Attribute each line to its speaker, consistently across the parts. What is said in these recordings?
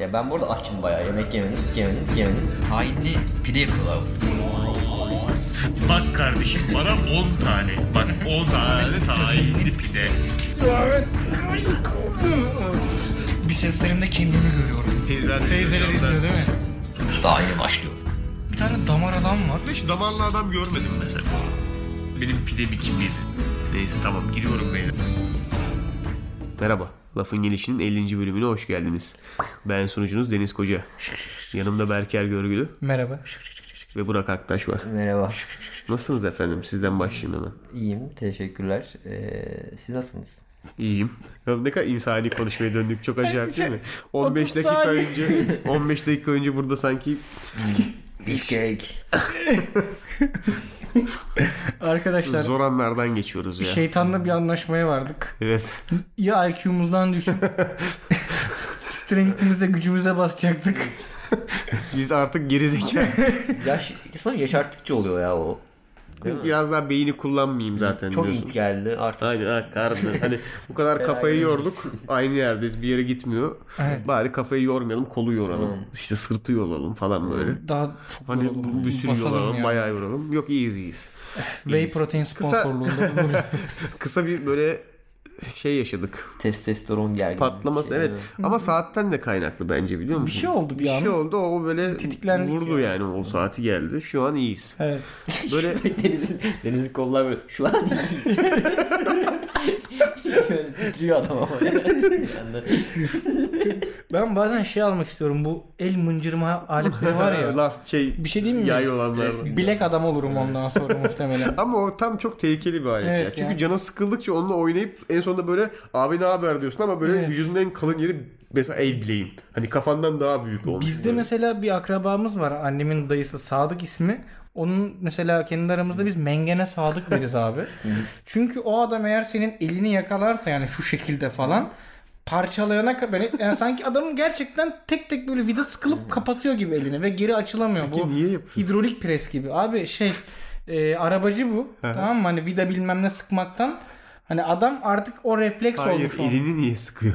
Speaker 1: Ya ben burada açım bayağı yemek yemedim, yemedim, yemedim. Hainli pide yapıyorlar.
Speaker 2: Bak kardeşim bana 10 tane. Bak 10 tane tahinli pide.
Speaker 3: Bir seflerimde kendimi görüyorum.
Speaker 4: Teyzeler
Speaker 3: Teyzeler izliyor değil mi?
Speaker 1: Daha yeni başlıyor.
Speaker 3: Bir tane damar adam var.
Speaker 4: Hiç damarlı adam görmedim mesela.
Speaker 2: Benim pidem 2000. Neyse tamam giriyorum beyler.
Speaker 4: Merhaba. Lafın Gelişi'nin 50. bölümüne hoş geldiniz. Ben sunucunuz Deniz Koca. Yanımda Berker Görgülü
Speaker 3: Merhaba.
Speaker 4: ve Burak Aktaş var.
Speaker 1: Merhaba.
Speaker 4: Nasılsınız efendim? Sizden başlayayım hemen.
Speaker 1: İyiyim, teşekkürler. Ee, siz nasılsınız?
Speaker 4: İyiyim. Ya ne kadar insani konuşmaya döndük. Çok acayip değil mi? 15
Speaker 3: otuz
Speaker 4: dakika
Speaker 3: saniye.
Speaker 4: önce 15 dakika önce burada sanki
Speaker 1: Beefcake.
Speaker 3: Arkadaşlar
Speaker 4: zor anlardan geçiyoruz ya.
Speaker 3: şeytanla bir şey- anlaşmaya vardık.
Speaker 4: Evet.
Speaker 3: Ya IQ'muzdan düşüp strength'imize gücümüze basacaktık.
Speaker 4: Biz artık gerizekalı.
Speaker 1: Yaş, sanırım yaş arttıkça oluyor ya o. Değil mi?
Speaker 4: Biraz daha beyni kullanmayayım zaten
Speaker 1: Çok
Speaker 4: diyorsun.
Speaker 1: it geldi artık.
Speaker 4: Aynen ha, harbiden. Hani bu kadar kafayı yorduk. Aynı yerdeyiz. Bir yere gitmiyor.
Speaker 3: Evet.
Speaker 4: Bari kafayı yormayalım. Kolu yoralım. işte sırtı yoralım falan böyle.
Speaker 3: Daha çok
Speaker 4: Hani
Speaker 3: yoralım,
Speaker 4: bir sürü
Speaker 3: basalım
Speaker 4: yoralım.
Speaker 3: ya.
Speaker 4: Bayağı yoralım. Yok iyiyiz iyiyiz.
Speaker 3: Whey protein
Speaker 4: Kısa-
Speaker 3: sponsorluğunda bulunuyor.
Speaker 4: Kısa bir böyle şey yaşadık.
Speaker 1: Testosteron gergin.
Speaker 4: Patlaması
Speaker 1: Şey,
Speaker 4: evet. Ama saatten de kaynaklı bence biliyor musun?
Speaker 3: Bir şey oldu bir
Speaker 4: Bir
Speaker 3: an.
Speaker 4: şey oldu o böyle
Speaker 3: Tetiklendik
Speaker 4: vurdu yani. o saati geldi. Şu an iyiyiz.
Speaker 3: Evet.
Speaker 4: Böyle
Speaker 1: Deniz'in, Deniz'in kollar böyle şu an böyle titriyor adam ama. Bir anda.
Speaker 3: Ben bazen şey almak istiyorum bu el mıncırma aletleri var ya.
Speaker 4: Ee, last şey
Speaker 3: Bir şey diyeyim mi?
Speaker 4: yay olanlardan.
Speaker 3: Bilek adam olurum ondan sonra muhtemelen.
Speaker 4: Ama o tam çok tehlikeli bir alet
Speaker 3: Evet
Speaker 4: ya. Çünkü
Speaker 3: yani.
Speaker 4: canı sıkıldıkça onunla oynayıp en sonunda böyle abi ne haber diyorsun ama böyle
Speaker 3: Evet.
Speaker 4: vücudunun en kalın yeri mesela el bileğin. Hani kafandan daha büyük olmuş.
Speaker 3: Bizde
Speaker 4: böyle.
Speaker 3: mesela bir akrabamız var. Annemin dayısı Sadık ismi. Onun mesela kendi aramızda biz mengene Sadık deriz abi. Çünkü o adam eğer senin elini yakalarsa yani şu şekilde falan parçalayana ka- böyle yani sanki adamın gerçekten tek tek böyle vida sıkılıp kapatıyor gibi elini ve geri açılamıyor.
Speaker 4: Peki
Speaker 3: bu
Speaker 4: niye yapıyor?
Speaker 3: hidrolik pres gibi. Abi şey e, arabacı bu. tamam mı? Hani vida bilmem ne sıkmaktan hani adam artık o refleks
Speaker 4: Hayır
Speaker 3: olmuş onun.
Speaker 4: elini niye sıkıyor?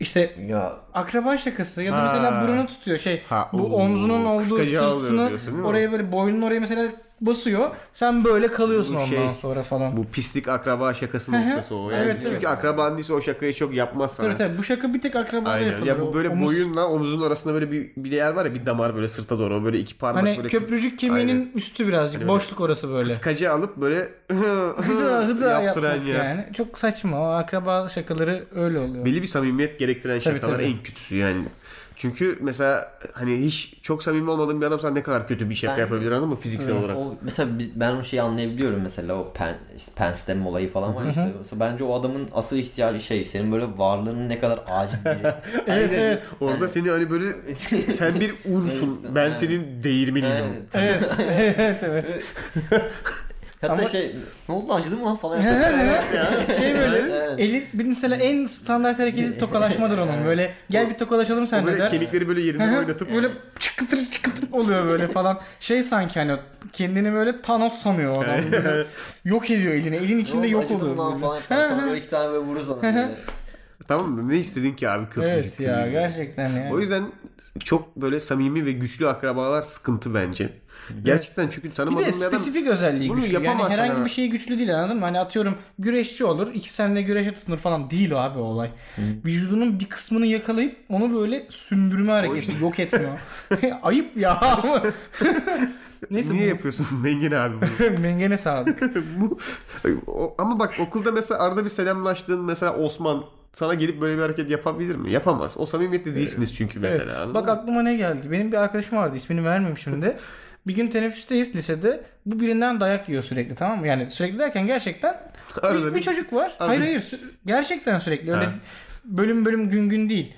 Speaker 3: İşte
Speaker 1: Ya
Speaker 3: akraba şakası ya da
Speaker 4: Ha.
Speaker 3: mesela burnu tutuyor şey
Speaker 4: Ha,
Speaker 3: bu
Speaker 4: oo,
Speaker 3: omzunun olduğu
Speaker 4: kıskacı alıyor
Speaker 3: sırtını
Speaker 4: diyorsun, değil mi?
Speaker 3: oraya böyle boynun oraya mesela basıyor sen böyle kalıyorsun
Speaker 4: Bu
Speaker 3: ondan
Speaker 4: şey,
Speaker 3: sonra falan.
Speaker 4: Bu pislik akraba şakası
Speaker 3: hı.
Speaker 4: noktası o. Yani
Speaker 3: Evet,
Speaker 4: çünkü
Speaker 3: evet.
Speaker 4: akraban değilse o şakayı çok yapmaz sana.
Speaker 3: Tabii tabii bu şaka bir tek akrabada
Speaker 4: Aynen.
Speaker 3: yapılır.
Speaker 4: Ya bu böyle
Speaker 3: O omuz-
Speaker 4: boyunla omuzun arasında böyle bir, bir yer var ya bir damar böyle sırta doğru. O Böyle iki parmak
Speaker 3: Hani
Speaker 4: böyle
Speaker 3: köprücük kemiğinin üstü birazcık boşluk orası böyle.
Speaker 4: kıskacı alıp böyle
Speaker 3: Hıza hıza
Speaker 4: yaptıran
Speaker 3: yapmak
Speaker 4: yer.
Speaker 3: yani. Çok saçma. O akraba şakaları öyle oluyor.
Speaker 4: Belli bir samimiyet gerektiren
Speaker 3: Tabii,
Speaker 4: şakalar
Speaker 3: tabii.
Speaker 4: en kötüsü yani. Çünkü mesela hani hiç çok samimi olmadığın bir adam sana ne kadar kötü bir şaka
Speaker 1: Ben-
Speaker 4: yapabilir anladın mı fiziksel olarak?
Speaker 1: o mesela bi- ben o şeyi anlayabiliyorum mesela o pen, işte penstem olayı falan var işte. Mesela bence o adamın asıl ihtiyacı şey senin böyle varlığının ne kadar aciz bir
Speaker 3: evet evet.
Speaker 4: Orada seni hani böyle sen bir unsun.
Speaker 1: Unsun,
Speaker 4: ben
Speaker 1: aynen.
Speaker 4: senin değirmeniyim.
Speaker 1: Evet.
Speaker 3: Evet evet evet.
Speaker 1: Hatta
Speaker 3: Ama-
Speaker 1: şey ne oldu acıdı mı lan falan
Speaker 3: He,
Speaker 1: yapıyor.
Speaker 3: he, he. şey böyle
Speaker 1: Evet.
Speaker 3: eli bir mesela en standart hareketi tokalaşmadır onun böyle gel bir tokalaşalım
Speaker 4: O
Speaker 3: sen de
Speaker 4: Böyle
Speaker 3: der.
Speaker 4: kemikleri böyle
Speaker 3: Hı
Speaker 4: yerinden
Speaker 3: hı.
Speaker 4: oynatıp
Speaker 3: böyle çıkıtır çıkıtır oluyor böyle falan. Şey sanki hani kendini böyle Thanos sanıyor o adam. Böyle yok ediyor elini. Elin
Speaker 1: Ne
Speaker 3: içinde
Speaker 1: oldu,
Speaker 3: yok
Speaker 1: acıdı mı
Speaker 3: oluyor.
Speaker 1: lan
Speaker 3: böyle.
Speaker 1: falan yapıyor. Sonra böyle iki tane böyle vurur sana. böyle.
Speaker 4: tamam mı? Ne istedin ki abi köprücük?
Speaker 3: Evet ya
Speaker 4: kemiğinden?
Speaker 3: gerçekten yani.
Speaker 4: O yüzden çok böyle samimi ve güçlü akrabalar sıkıntı bence. Gerçekten çünkü
Speaker 3: bir de
Speaker 4: tanımadığın bir adam
Speaker 3: spesifik özelliği
Speaker 4: Bunu
Speaker 3: güçlü. Yani
Speaker 4: yapamazsın
Speaker 3: herhangi
Speaker 4: ha.
Speaker 3: bir şey güçlü değil anladın mı? Hani atıyorum güreşçi olur. iki senede güreşe tutunur falan. Değil abi o olay. Vücudunun bir kısmını yakalayıp onu böyle sündürme hareketi. Yok etme. Ayıp ya ama. Neyse
Speaker 4: niye yapıyorsun Mengin abi bunu?
Speaker 3: bu mengene sağlık.
Speaker 4: Bu- o- ama bak okulda mesela arada bir selamlaştığın mesela Osman sana gelip böyle bir hareket yapabilir mi? Yapamaz. O samimiyette değilsiniz çünkü mesela. anladın
Speaker 3: Bak
Speaker 4: mı?
Speaker 3: aklıma ne geldi. Benim bir arkadaşım vardı. ismini vermeyeyim şimdi. Bir gün teneffüsteyiz lisede. Bu birinden dayak yiyor sürekli tamam mı? Yani sürekli derken gerçekten
Speaker 4: Arada
Speaker 3: bir, bir
Speaker 4: bir-
Speaker 3: çocuk var. Hayır hayır. sü- Gerçekten sürekli. Öyle
Speaker 4: Ha.
Speaker 3: bölüm bölüm gün gün değil.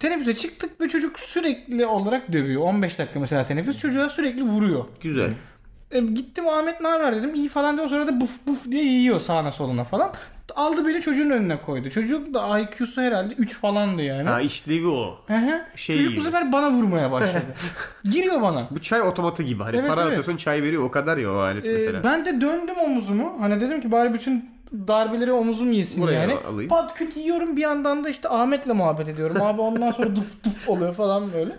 Speaker 3: Teneffüse çıktık ve çocuk sürekli olarak dövüyor. 15 dakika mesela teneffüs. Çocuğa sürekli vuruyor.
Speaker 4: Güzel.
Speaker 3: E, gittim Ahmet ne haber dedim. İyi falan diyor. Sonra da buf buf diye yiyor sağına soluna falan. Aldı beni çocuğun önüne koydu. Çocuk da IQ'su herhalde 3 falandı yani.
Speaker 4: Ha işlevi o.
Speaker 3: Hı hı.
Speaker 4: Şey
Speaker 3: Çocuk
Speaker 4: gibi.
Speaker 3: bu sefer bana vurmaya başladı. Giriyor bana.
Speaker 4: Bu çay otomatı gibi. Hani
Speaker 3: Evet,
Speaker 4: para
Speaker 3: evet.
Speaker 4: atıyorsun çay veriyor o kadar ya o alet
Speaker 3: Ee,
Speaker 4: mesela.
Speaker 3: ben de döndüm omuzumu. Hani dedim ki bari bütün darbeleri omuzum yesin
Speaker 4: Buraya
Speaker 3: yani.
Speaker 4: alayım.
Speaker 3: Pat küt yiyorum bir yandan da işte Ahmet'le muhabbet ediyorum. Abi ondan sonra dıp dıp oluyor falan böyle.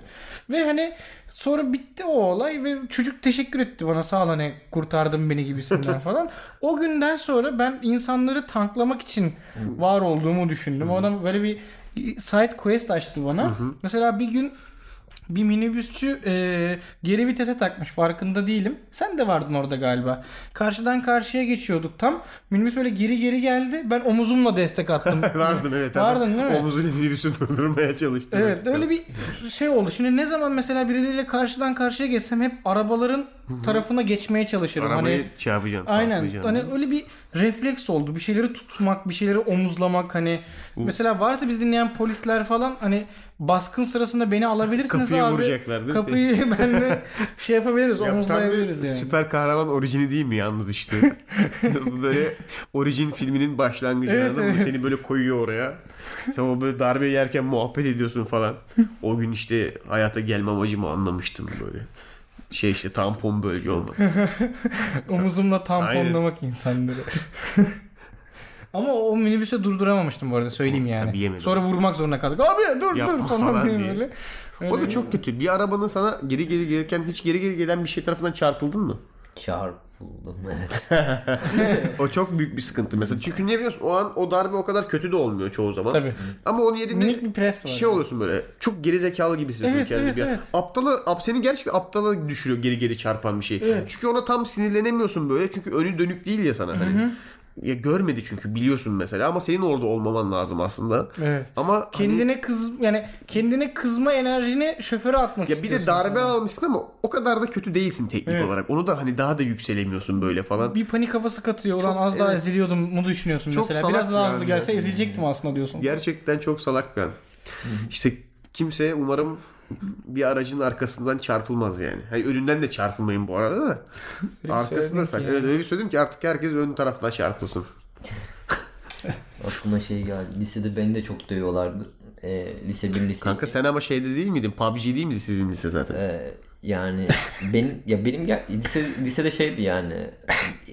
Speaker 3: Ve hani sonra bitti o olay ve çocuk teşekkür etti bana sağ ol hani kurtardın beni gibisinden falan. O günden sonra ben insanları tanklamak için var olduğumu düşündüm. Ona böyle bir side quest açtı bana. Mesela bir gün bir minibüsçü e, geri vitese takmış farkında değilim. Sen de vardın orada galiba. Karşıdan karşıya geçiyorduk tam. Minibüs böyle geri geri geldi. Ben omuzumla destek attım.
Speaker 4: Vardım evet.
Speaker 3: Vardın değil mi?
Speaker 4: Omuzuyla minibüsü durdurmaya çalıştım.
Speaker 3: Evet öyle bir şey oldu. Şimdi ne zaman mesela birileriyle karşıdan karşıya geçsem hep arabaların tarafına geçmeye çalışırım.
Speaker 4: Arabayı
Speaker 3: hani
Speaker 4: çarpacaksın.
Speaker 3: Aynen.
Speaker 4: patlayacaksın.
Speaker 3: Hani öyle bir refleks oldu. Bir şeyleri tutmak, bir şeyleri omuzlamak hani. Mesela varsa biz dinleyen polisler falan hani baskın sırasında beni alabilirsiniz
Speaker 4: Kapıyı
Speaker 3: abi.
Speaker 4: vuracaklar değil mi?
Speaker 3: Kapıyı benle şey yapabiliriz,
Speaker 4: Ya tam bir
Speaker 3: omuzlayabiliriz yani.
Speaker 4: Süper kahraman orijini değil mi yalnız işte? böyle orijin filminin başlangıcı
Speaker 3: Evet,
Speaker 4: anladın mı?
Speaker 3: evet.
Speaker 4: Seni böyle koyuyor oraya. Sen o böyle darbe yerken muhabbet ediyorsun falan. O gün işte hayata gelme amacımı anlamıştım böyle. Şey işte tampon bölge olmak.
Speaker 3: Omuzumla tamponlamak insanları. Ama o minibüse durduramamıştım bu arada söyleyeyim yani.
Speaker 4: Tabii yemedim.
Speaker 3: Sonra vurmak zorunda kaldık. Abi dur dur
Speaker 4: Yapma
Speaker 3: falan
Speaker 4: falan
Speaker 3: diye
Speaker 4: diye.
Speaker 3: böyle.
Speaker 4: O da çok kötü. Bir arabanın sana geri geri gelirken hiç geri geri gelen bir şey tarafından çarpıldın mı?
Speaker 1: Çarpıldım evet.
Speaker 4: O çok büyük bir sıkıntı mesela. Çünkü niye biliyorsun? O an o darbe o kadar kötü de olmuyor çoğu zaman.
Speaker 3: Tabii.
Speaker 4: Ama onu yediğinde
Speaker 3: Minik bir pres var.
Speaker 4: şey oluyorsun böyle. Çok geri zekalı gibi hissediyorsun
Speaker 3: Evet,
Speaker 4: kendini
Speaker 3: evet,
Speaker 4: bir an.
Speaker 3: evet.
Speaker 4: Aptala, ap, seni gerçekten aptala düşürüyor geri geri çarpan bir şey. Çünkü ona tam sinirlenemiyorsun böyle. Çünkü önü dönük değil ya sana. Hani. Ya görmedi çünkü biliyorsun mesela ama senin orada olmaman lazım aslında.
Speaker 3: Evet.
Speaker 4: Ama hani,
Speaker 3: Kendine kız yani kendine kızma enerjini şoföre atmak
Speaker 4: ya bir de
Speaker 3: istiyorsun. Hani
Speaker 4: darbe almışsın ama o kadar da kötü değilsin teknik
Speaker 3: Evet.
Speaker 4: olarak. Onu da hani daha da yükselemiyorsun böyle falan.
Speaker 3: bir panik havası katıyor. Ulan
Speaker 4: Çok-
Speaker 3: az daha
Speaker 4: evet.
Speaker 3: eziliyordum mu düşünüyorsun
Speaker 4: Çok
Speaker 3: mesela.
Speaker 4: salak
Speaker 3: Biraz daha
Speaker 4: yani.
Speaker 3: hızlı gelse ezilecektim aslında diyorsun.
Speaker 4: Gerçekten çok salak bir an. İşte kimse umarım bir aracın arkasından çarpılmaz yani. Hani önünden de çarpılmayın bu arada da.
Speaker 3: Öyle bir
Speaker 4: Arkasında
Speaker 3: söyledin
Speaker 4: sak.
Speaker 3: ki
Speaker 4: Evet
Speaker 3: ya.
Speaker 4: öyle bir söyledim ki artık herkes ön tarafına çarpılsın.
Speaker 1: Aklıma şey geldi. Lisede beni de çok dövüyorlardı. Ee, lise 1 lise iki.
Speaker 4: Kanka sen ama şeyde değil miydin? PUBG değil miydi sizin lise zaten?
Speaker 1: Ee, yani benim ya benim ya, lise, lisede şeydi yani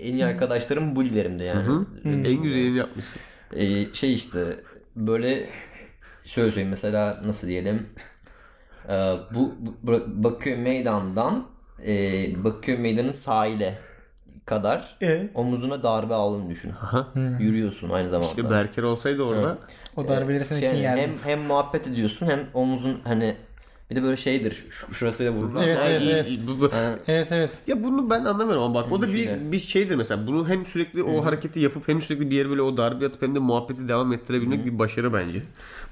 Speaker 1: en iyi arkadaşlarım bullilerimdi yani.
Speaker 3: Hmm.
Speaker 4: En güzelini yapmışsın.
Speaker 1: Ee, şey işte böyle şöyle söyleyeyim mesela nasıl diyelim Ee, bu, bu- Bakü meydandan e, Bakü meydanın sahile kadar
Speaker 3: Evet.
Speaker 1: omuzuna darbe aldığını düşün. Yürüyorsun aynı zamanda.
Speaker 4: İşte Berker olsaydı orada
Speaker 3: O darbeleri senin için
Speaker 1: Şey,
Speaker 3: yerdim.
Speaker 1: hem hem muhabbet ediyorsun hem omuzun hani bir de böyle şeydir şu, şurasıyla vururlar.
Speaker 3: Evet,
Speaker 4: Ha,
Speaker 3: evet,
Speaker 4: iyi,
Speaker 3: evet.
Speaker 4: iyi, bu- bu-
Speaker 1: Ha,
Speaker 3: Evet evet.
Speaker 4: Ya bunu ben anlamıyorum ama bak o da bir,
Speaker 1: Düşünüyorum.
Speaker 4: bir şeydir mesela. Bunu hem sürekli o hareketi yapıp hem sürekli bir yere böyle o darbe atıp hem de muhabbeti devam ettirebilmek bir başarı bence.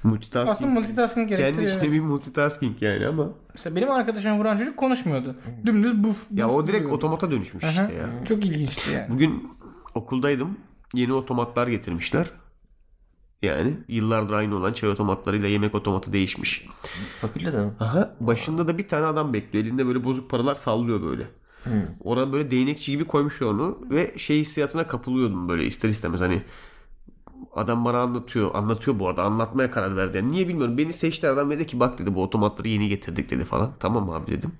Speaker 4: Multitasking.
Speaker 3: Aslında multitasking
Speaker 4: Kendi
Speaker 3: gerektiriyor.
Speaker 4: içinde bir multitasking yani ama.
Speaker 3: Mesela benim arkadaşım vuran çocuk konuşmuyordu. Dümdüz buf.
Speaker 4: Hmm. Ya
Speaker 3: buf
Speaker 4: o direkt
Speaker 3: vuruyordu.
Speaker 4: otomata dönüşmüş
Speaker 3: Aha.
Speaker 4: işte ya.
Speaker 3: Çok ilginçti yani.
Speaker 4: Bugün okuldaydım. Yeni otomatlar getirmişler. Yani yıllardır aynı olan çay otomatlarıyla yemek otomatı değişmiş.
Speaker 1: fakülte de mi?
Speaker 4: Aha başında da bir tane adam bekliyor. Elinde böyle bozuk paralar sallıyor böyle.
Speaker 3: Hmm.
Speaker 4: Oraya böyle değnekçi gibi koymuş onu ve şey hissiyatına kapılıyordum böyle ister istemez hani adam bana anlatıyor. Anlatıyor bu arada. Anlatmaya karar verdi. Yani niye bilmiyorum. Beni seçti adam ve dedi ki bak dedi bu otomatları yeni getirdik dedi falan. Tamam abi dedim.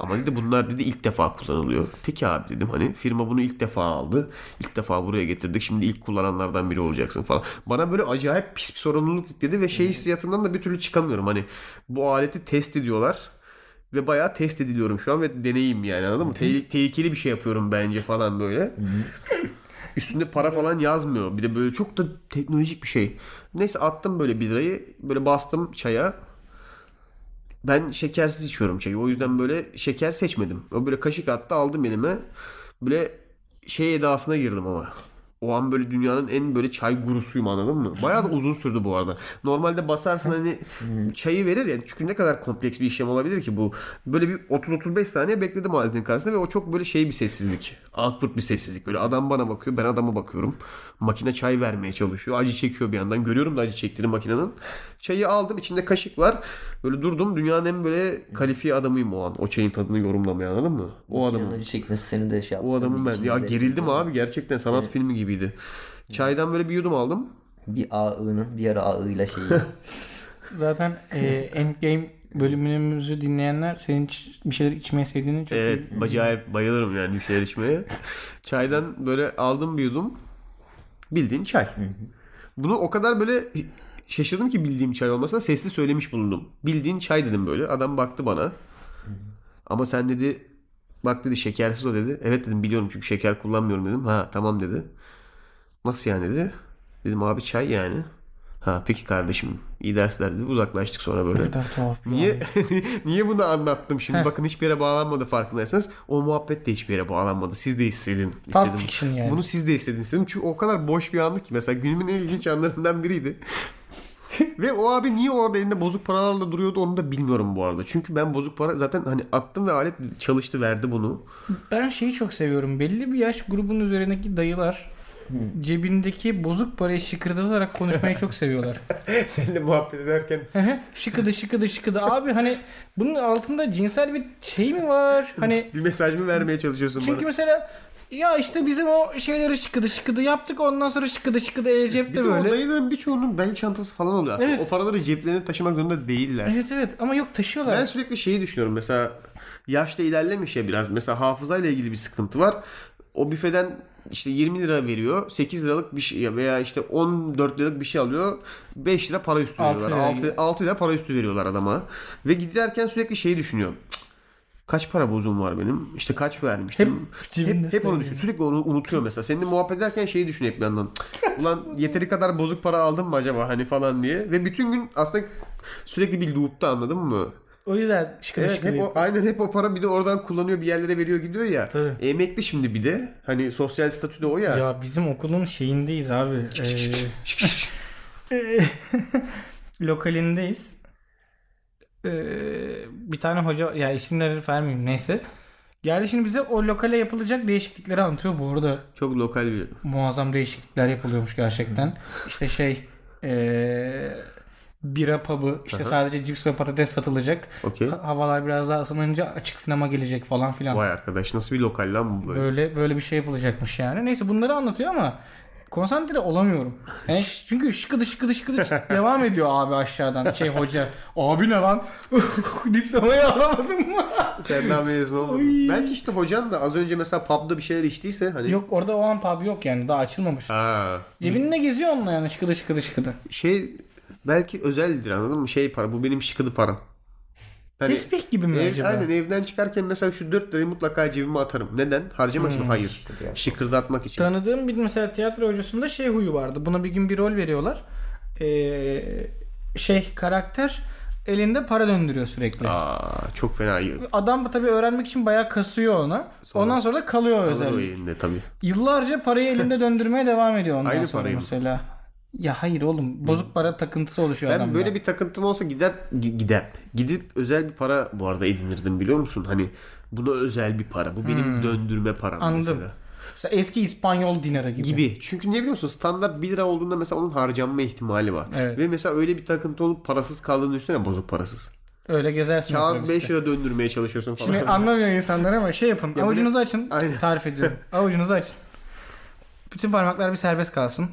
Speaker 4: Ama dedi bunlar dedi ilk defa kullanılıyor. Peki abi dedim hani firma bunu ilk defa aldı. İlk defa buraya getirdik. Şimdi ilk kullananlardan biri olacaksın falan. Bana böyle acayip pis bir sorumluluk yükledi ve şey hissiyatından da bir türlü çıkamıyorum. Hani bu aleti test ediyorlar. Ve bayağı test ediliyorum şu an ve deneyim yani anladın mı? Tehl- tehlikeli bir şey yapıyorum bence falan böyle. Üstünde para falan yazmıyor. Bir de böyle çok da teknolojik bir şey. Neyse attım böyle bir lirayı. Böyle bastım çaya. Ben şekersiz içiyorum çayı. O yüzden böyle şeker seçmedim. O böyle kaşık attı aldım elime. Böyle şey edasına girdim ama. O an böyle dünyanın en böyle çay gurusuyum anladın mı? Bayağı da uzun sürdü bu arada. Normalde basarsın hani çayı verir ya. Çünkü ne kadar kompleks bir işlem olabilir ki bu. Böyle bir 30-35 saniye bekledim aletin karşısında ve o çok böyle şey bir sessizlik. Awkward bir sessizlik. Böyle adam bana bakıyor ben adama bakıyorum. Makine çay vermeye çalışıyor. Acı çekiyor bir yandan. Görüyorum da acı çektiğini makinenin. Çayı aldım içinde kaşık var. Böyle durdum dünyanın en böyle kalifiye adamıyım o an. O çayın tadını yorumlamaya anladın mı? O adamın.
Speaker 1: Yanıcı çekmesi seni de şey yaptı.
Speaker 4: O adamın ben.
Speaker 1: tabii,
Speaker 4: Ya
Speaker 1: içinize.
Speaker 4: gerildim abi gerçekten sanat filmi gibiydi. Çaydan böyle bir yudum aldım.
Speaker 1: Bir ağının diğer ağıyla şeyi.
Speaker 3: Zaten e, Endgame bölümümüzü dinleyenler senin ç- bir şeyler içmeyi sevdiğini çok
Speaker 4: Evet
Speaker 3: iyi
Speaker 4: acayip bayılırım yani bir şeyler içmeye. Çaydan böyle aldım bir yudum. Bildiğin çay. Bunu o kadar böyle şaşırdım ki bildiğim çay olmasına sesli söylemiş bulundum. Bildiğin çay dedim böyle. Adam baktı bana. Ama sen dedi bak dedi şekersiz o dedi. Evet dedim biliyorum çünkü şeker kullanmıyorum dedim. Ha tamam dedi. Nasıl yani dedi. Dedim abi çay yani. Ha peki kardeşim iyi dersler dedi. Uzaklaştık sonra böyle.
Speaker 3: kadar tuhaf bir
Speaker 4: Niye niye bunu anlattım şimdi? Bakın hiçbir yere bağlanmadı farkındaysanız. O muhabbet de hiçbir yere bağlanmadı. Siz de hissedin.
Speaker 3: Pulp
Speaker 4: istedim.
Speaker 3: Fiction yani.
Speaker 4: Bunu siz de hissedin istedim. Çünkü o kadar boş bir anlık ki. Mesela günümün en ilginç anlarından biriydi. ve o abi niye orada elinde bozuk paralarla duruyordu onu da bilmiyorum bu arada. Çünkü ben bozuk para zaten hani attım ve alet çalıştı verdi bunu.
Speaker 3: Ben şeyi çok seviyorum. Belli bir yaş grubunun üzerindeki dayılar cebindeki bozuk parayı şıkırdatarak konuşmayı çok seviyorlar.
Speaker 4: Seninle muhabbet ederken
Speaker 3: şıkıdı şıkıdı şıkıdı. Abi hani bunun altında cinsel bir şey mi var? Hani
Speaker 4: bir mesaj mı vermeye çalışıyorsun
Speaker 3: çünkü
Speaker 4: bana?
Speaker 3: mesela ya işte bizim o şeyleri şıkıdı şıkıdı yaptık ondan sonra şıkıdı şıkıdı e,
Speaker 4: Bir
Speaker 3: cepte
Speaker 4: de o
Speaker 3: böyle.
Speaker 4: dayıların birçoğunun bel çantası falan oluyor aslında.
Speaker 3: Evet.
Speaker 4: O paraları ceplerine taşımak zorunda değiller.
Speaker 3: Evet evet ama yok taşıyorlar.
Speaker 4: Ben sürekli şeyi düşünüyorum mesela yaşta ilerlemiş ya biraz mesela hafızayla ilgili bir sıkıntı var. O büfeden işte 20 lira veriyor 8 liralık bir şey veya işte 14 liralık bir şey alıyor 5 lira para üstü
Speaker 3: Altı
Speaker 4: veriyorlar.
Speaker 3: lira.
Speaker 4: 6, 6 lira para üstü veriyorlar adama ve giderken sürekli şeyi düşünüyor. Cık, Kaç para bozum var benim? İşte kaç vermiştim? Hep,
Speaker 3: cebinde
Speaker 4: hep, onu
Speaker 3: sayıyor.
Speaker 4: düşün. Sürekli onu unutuyor mesela. Seninle muhabbet ederken şeyi düşünüyor hep bir yandan. Cık, Ulan yeteri kadar bozuk para aldım mı acaba hani falan diye. Ve bütün gün aslında sürekli bir loop'ta anladın mı?
Speaker 3: O yüzden şıkıdı
Speaker 4: Evet
Speaker 3: şıkıdı.
Speaker 4: hep o, aynen hep o para bir de oradan kullanıyor bir yerlere veriyor gidiyor ya. E,
Speaker 3: Tabii.
Speaker 4: Emekli şimdi bir de. Hani sosyal statü de o ya.
Speaker 3: Ya bizim okulun şeyindeyiz abi. Ee, Eee, Ee, lokalindeyiz. Eee, bir tane hoca ya isimleri vermeyeyim neyse. Geldi şimdi bize o lokale yapılacak değişiklikleri anlatıyor. Bu arada
Speaker 4: Çok lokal bir.
Speaker 3: muazzam değişiklikler yapılıyormuş gerçekten. İşte şey eee bira pub'ı işte sadece cips ve patates satılacak.
Speaker 4: Okey.
Speaker 3: Ha- Havalar biraz daha ısınınca açık sinema gelecek falan filan.
Speaker 4: Vay arkadaş nasıl bir lokal lan bu böyle.
Speaker 3: Böyle böyle bir şey yapılacakmış yani. Neyse bunları anlatıyor ama konsantre olamıyorum. Yani ş- çünkü şıkıdı şıkıdı şıkıdı şık- devam ediyor abi aşağıdan şey hoca. Abi ne lan? Diplomayı alamadın mı?
Speaker 4: Sen daha mezun olmadın. Belki işte hocan da az önce mesela pub'da bir şeyler içtiyse hani.
Speaker 3: yok orada o an pub yok yani daha açılmamış.
Speaker 4: Ha.
Speaker 3: Cebinde geziyor onunla yani şıkıdı şıkıdı şıkıdı.
Speaker 4: Şey belki özeldir anladın mı? Şey para bu benim şıkıdı param. Hani
Speaker 3: Tespih gibi şey mi
Speaker 4: ev-
Speaker 3: acaba?
Speaker 4: aynen evden çıkarken mesela şu 4 lirayı mutlaka cebime atarım. Neden?
Speaker 3: Hmm,
Speaker 4: Harcamak için? Hayır.
Speaker 3: şey.
Speaker 4: Şıkırdatmak için.
Speaker 3: Tanıdığım bir mesela tiyatro hocasında şey huyu vardı. Buna bir gün bir rol veriyorlar. Ee, şey karakter elinde para döndürüyor sürekli.
Speaker 4: Aa, çok fena.
Speaker 3: Adam tabii öğrenmek için bayağı kasıyor ona. Ondan sonra da kalıyor
Speaker 4: Kalır o
Speaker 3: özel.
Speaker 4: elinde tabii.
Speaker 3: Yıllarca parayı elinde döndürmeye devam ediyor ondan
Speaker 4: Aynı
Speaker 3: sonra
Speaker 4: parayı mı?
Speaker 3: mesela. Ya hayır oğlum bozuk para takıntısı oluşuyor
Speaker 4: Ben
Speaker 3: adamda.
Speaker 4: böyle bir takıntım olsa gider gi- gidip gidip özel bir para bu arada edinirdim biliyor musun? Hani buna özel bir para. Bu benim döndürme param
Speaker 3: Hmm. Anladım.
Speaker 4: mesela.
Speaker 3: Mesela eski İspanyol dinarı gibi.
Speaker 4: Gibi. Çünkü niye biliyorsun standart 1 lira olduğunda mesela onun harcanma ihtimali var.
Speaker 3: Evet.
Speaker 4: Ve mesela öyle bir takıntı olup parasız kaldığını düşünsene bozuk parasız.
Speaker 3: Öyle gezersin.
Speaker 4: Kağıt
Speaker 3: otobüste.
Speaker 4: 5 lira döndürmeye çalışıyorsun falan.
Speaker 3: Şimdi anlamıyor insanlar ama şey yapın.
Speaker 4: Ya bu
Speaker 3: avucunuzu
Speaker 4: ne-
Speaker 3: açın.
Speaker 4: Aynen.
Speaker 3: Tarif ediyorum. avucunuzu açın. Bütün parmaklar bir serbest kalsın.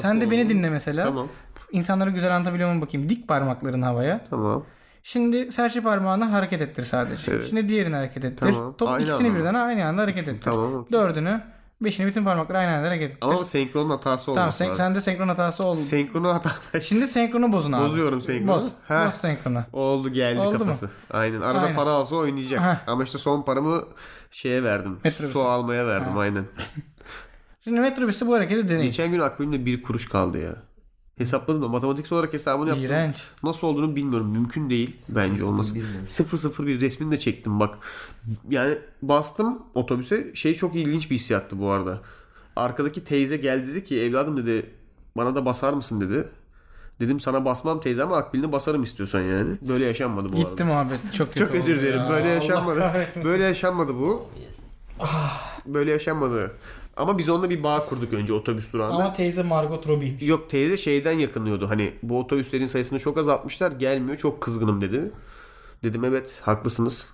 Speaker 3: Sen de beni
Speaker 4: oldu?
Speaker 3: dinle mesela.
Speaker 4: Tamam.
Speaker 3: İnsanlara güzel anlatabiliyor muyum bakayım. Dik parmakların havaya.
Speaker 4: Tamam.
Speaker 3: Şimdi serçe parmağını hareket ettir sadece.
Speaker 4: Evet.
Speaker 3: Şimdi diğerini hareket ettir.
Speaker 4: Tamam.
Speaker 3: Top
Speaker 4: Aynı
Speaker 3: ikisini
Speaker 4: anda mı?
Speaker 3: birden aynı anda hareket ettir.
Speaker 4: Tamam, okey.
Speaker 3: Dördünü, beşini bütün parmakları aynı anda hareket ettir.
Speaker 4: Ama o senkron hatası
Speaker 3: tamam
Speaker 4: olmasın.
Speaker 3: sen,
Speaker 4: Tamam,
Speaker 3: sende senkron hatası oldu.
Speaker 4: Senkron hatası.
Speaker 3: Şimdi senkronu bozun abi.
Speaker 4: Bozuyorum senkronu.
Speaker 3: Boz.
Speaker 4: Ha.
Speaker 3: Boz senkronu.
Speaker 4: Oldu geldi
Speaker 3: Oldu mu?
Speaker 4: kafası. Aynen. Arada
Speaker 3: Aynen.
Speaker 4: para alsa oynayacak.
Speaker 3: Heh.
Speaker 4: Ama işte son paramı şeye verdim.
Speaker 3: Metrobüse.
Speaker 4: Su almaya verdim aynen.
Speaker 3: Şimdi metrobüste bu hareketi deneyin.
Speaker 4: Geçen gün akbilinde bir kuruş kaldı ya. Hesapladım da matematiksel olarak hesabını yaptım.
Speaker 3: İğrenç.
Speaker 4: Nasıl olduğunu bilmiyorum. Mümkün değil bence olması. 001 resmini de çektim bak. Yani bastım otobüse. Şey çok ilginç bir hissiyattı bu arada. Arkadaki teyze geldi dedi ki evladım dedi bana da basar mısın dedi. Dedim sana basmam teyze ama akbilini basarım istiyorsan yani. Böyle yaşanmadı bu arada.
Speaker 3: Gitti muhabbet. Çok kötü
Speaker 4: Çok özür
Speaker 3: oldu
Speaker 4: dilerim.
Speaker 3: ya.
Speaker 4: Böyle
Speaker 3: Allah
Speaker 4: yaşanmadı.
Speaker 3: kahretmesin.
Speaker 4: Böyle yaşanmadı bu. Ah, Böyle yaşanmadı. Ama biz onunla bir bağ kurduk önce otobüs durağında.
Speaker 3: Ama teyze Margot Robbie.
Speaker 4: Yok teyze şeyden yakınıyordu. Hani bu otobüslerin sayısını çok azaltmışlar. Gelmiyor. Çok kızgınım dedi. Dedim evet haklısınız.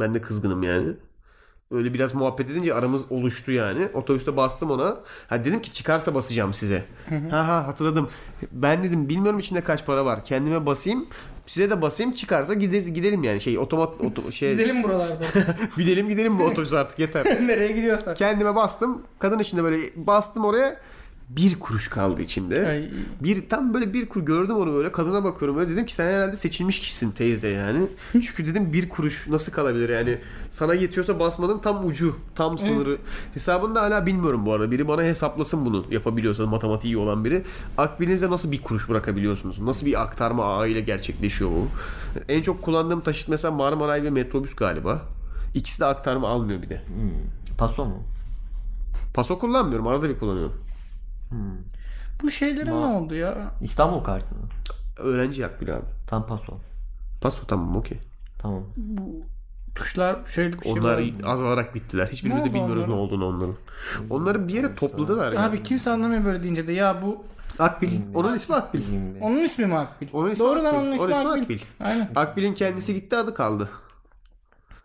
Speaker 4: Ben de kızgınım yani. Öyle biraz muhabbet edince aramız oluştu yani. Otobüste bastım ona. Ha dedim ki çıkarsa basacağım size. ha ha hatırladım. Ben dedim bilmiyorum içinde kaç para var. Kendime basayım. Size de basayım. Çıkarsa gideriz, gidelim yani. Şey otomat oto- şey
Speaker 3: Gidelim buralarda.
Speaker 4: Bilelim gidelim bu otobüs artık yeter.
Speaker 3: Nereye gidiyorsa.
Speaker 4: Kendime bastım. Kadın içinde böyle bastım oraya. bir kuruş kaldı içinde.
Speaker 3: Ay.
Speaker 4: Bir tam böyle bir kuruş gördüm onu böyle kadına bakıyorum öyle dedim ki sen herhalde seçilmiş kişisin teyze yani. Çünkü dedim bir kuruş nasıl kalabilir yani sana yetiyorsa basmanın tam ucu tam sınırı. Hesabını da hala bilmiyorum bu arada biri bana hesaplasın bunu yapabiliyorsa matematiği iyi olan biri. Akbilinizde nasıl bir kuruş bırakabiliyorsunuz? Nasıl bir aktarma ağı ile gerçekleşiyor bu? En çok kullandığım taşıt mesela Marmaray ve metrobüs galiba. İkisi de aktarma almıyor bir de.
Speaker 1: Paso mu?
Speaker 4: Paso kullanmıyorum arada bir kullanıyorum.
Speaker 3: Bu şeylere ne
Speaker 1: Ma-
Speaker 3: oldu ya?
Speaker 1: İstanbul kartı mı?
Speaker 4: Öğrenci akbil abi.
Speaker 1: Tam paso.
Speaker 4: Paso tamam okey.
Speaker 1: Tamam.
Speaker 3: Tuşlar şöyle bir şey
Speaker 4: Onlar
Speaker 3: var.
Speaker 4: azalarak bittiler. Hiçbirimiz
Speaker 3: Ne
Speaker 4: de
Speaker 3: oldu
Speaker 4: bilmiyoruz ne
Speaker 3: onlara?
Speaker 4: olduğunu onların. Onları bir yere topladılar. yani.
Speaker 3: Abi kimse anlamıyor böyle deyince de ya bu
Speaker 4: Akbil. Onun ismi Akbil.
Speaker 1: Bilmiyorum.
Speaker 3: onun ismi mi Akbil?
Speaker 4: Onun ismi
Speaker 3: Doğru lan
Speaker 4: Akbil.
Speaker 3: onun ismi, Akbil. Aynen.
Speaker 4: Akbil'in kendisi gitti adı kaldı.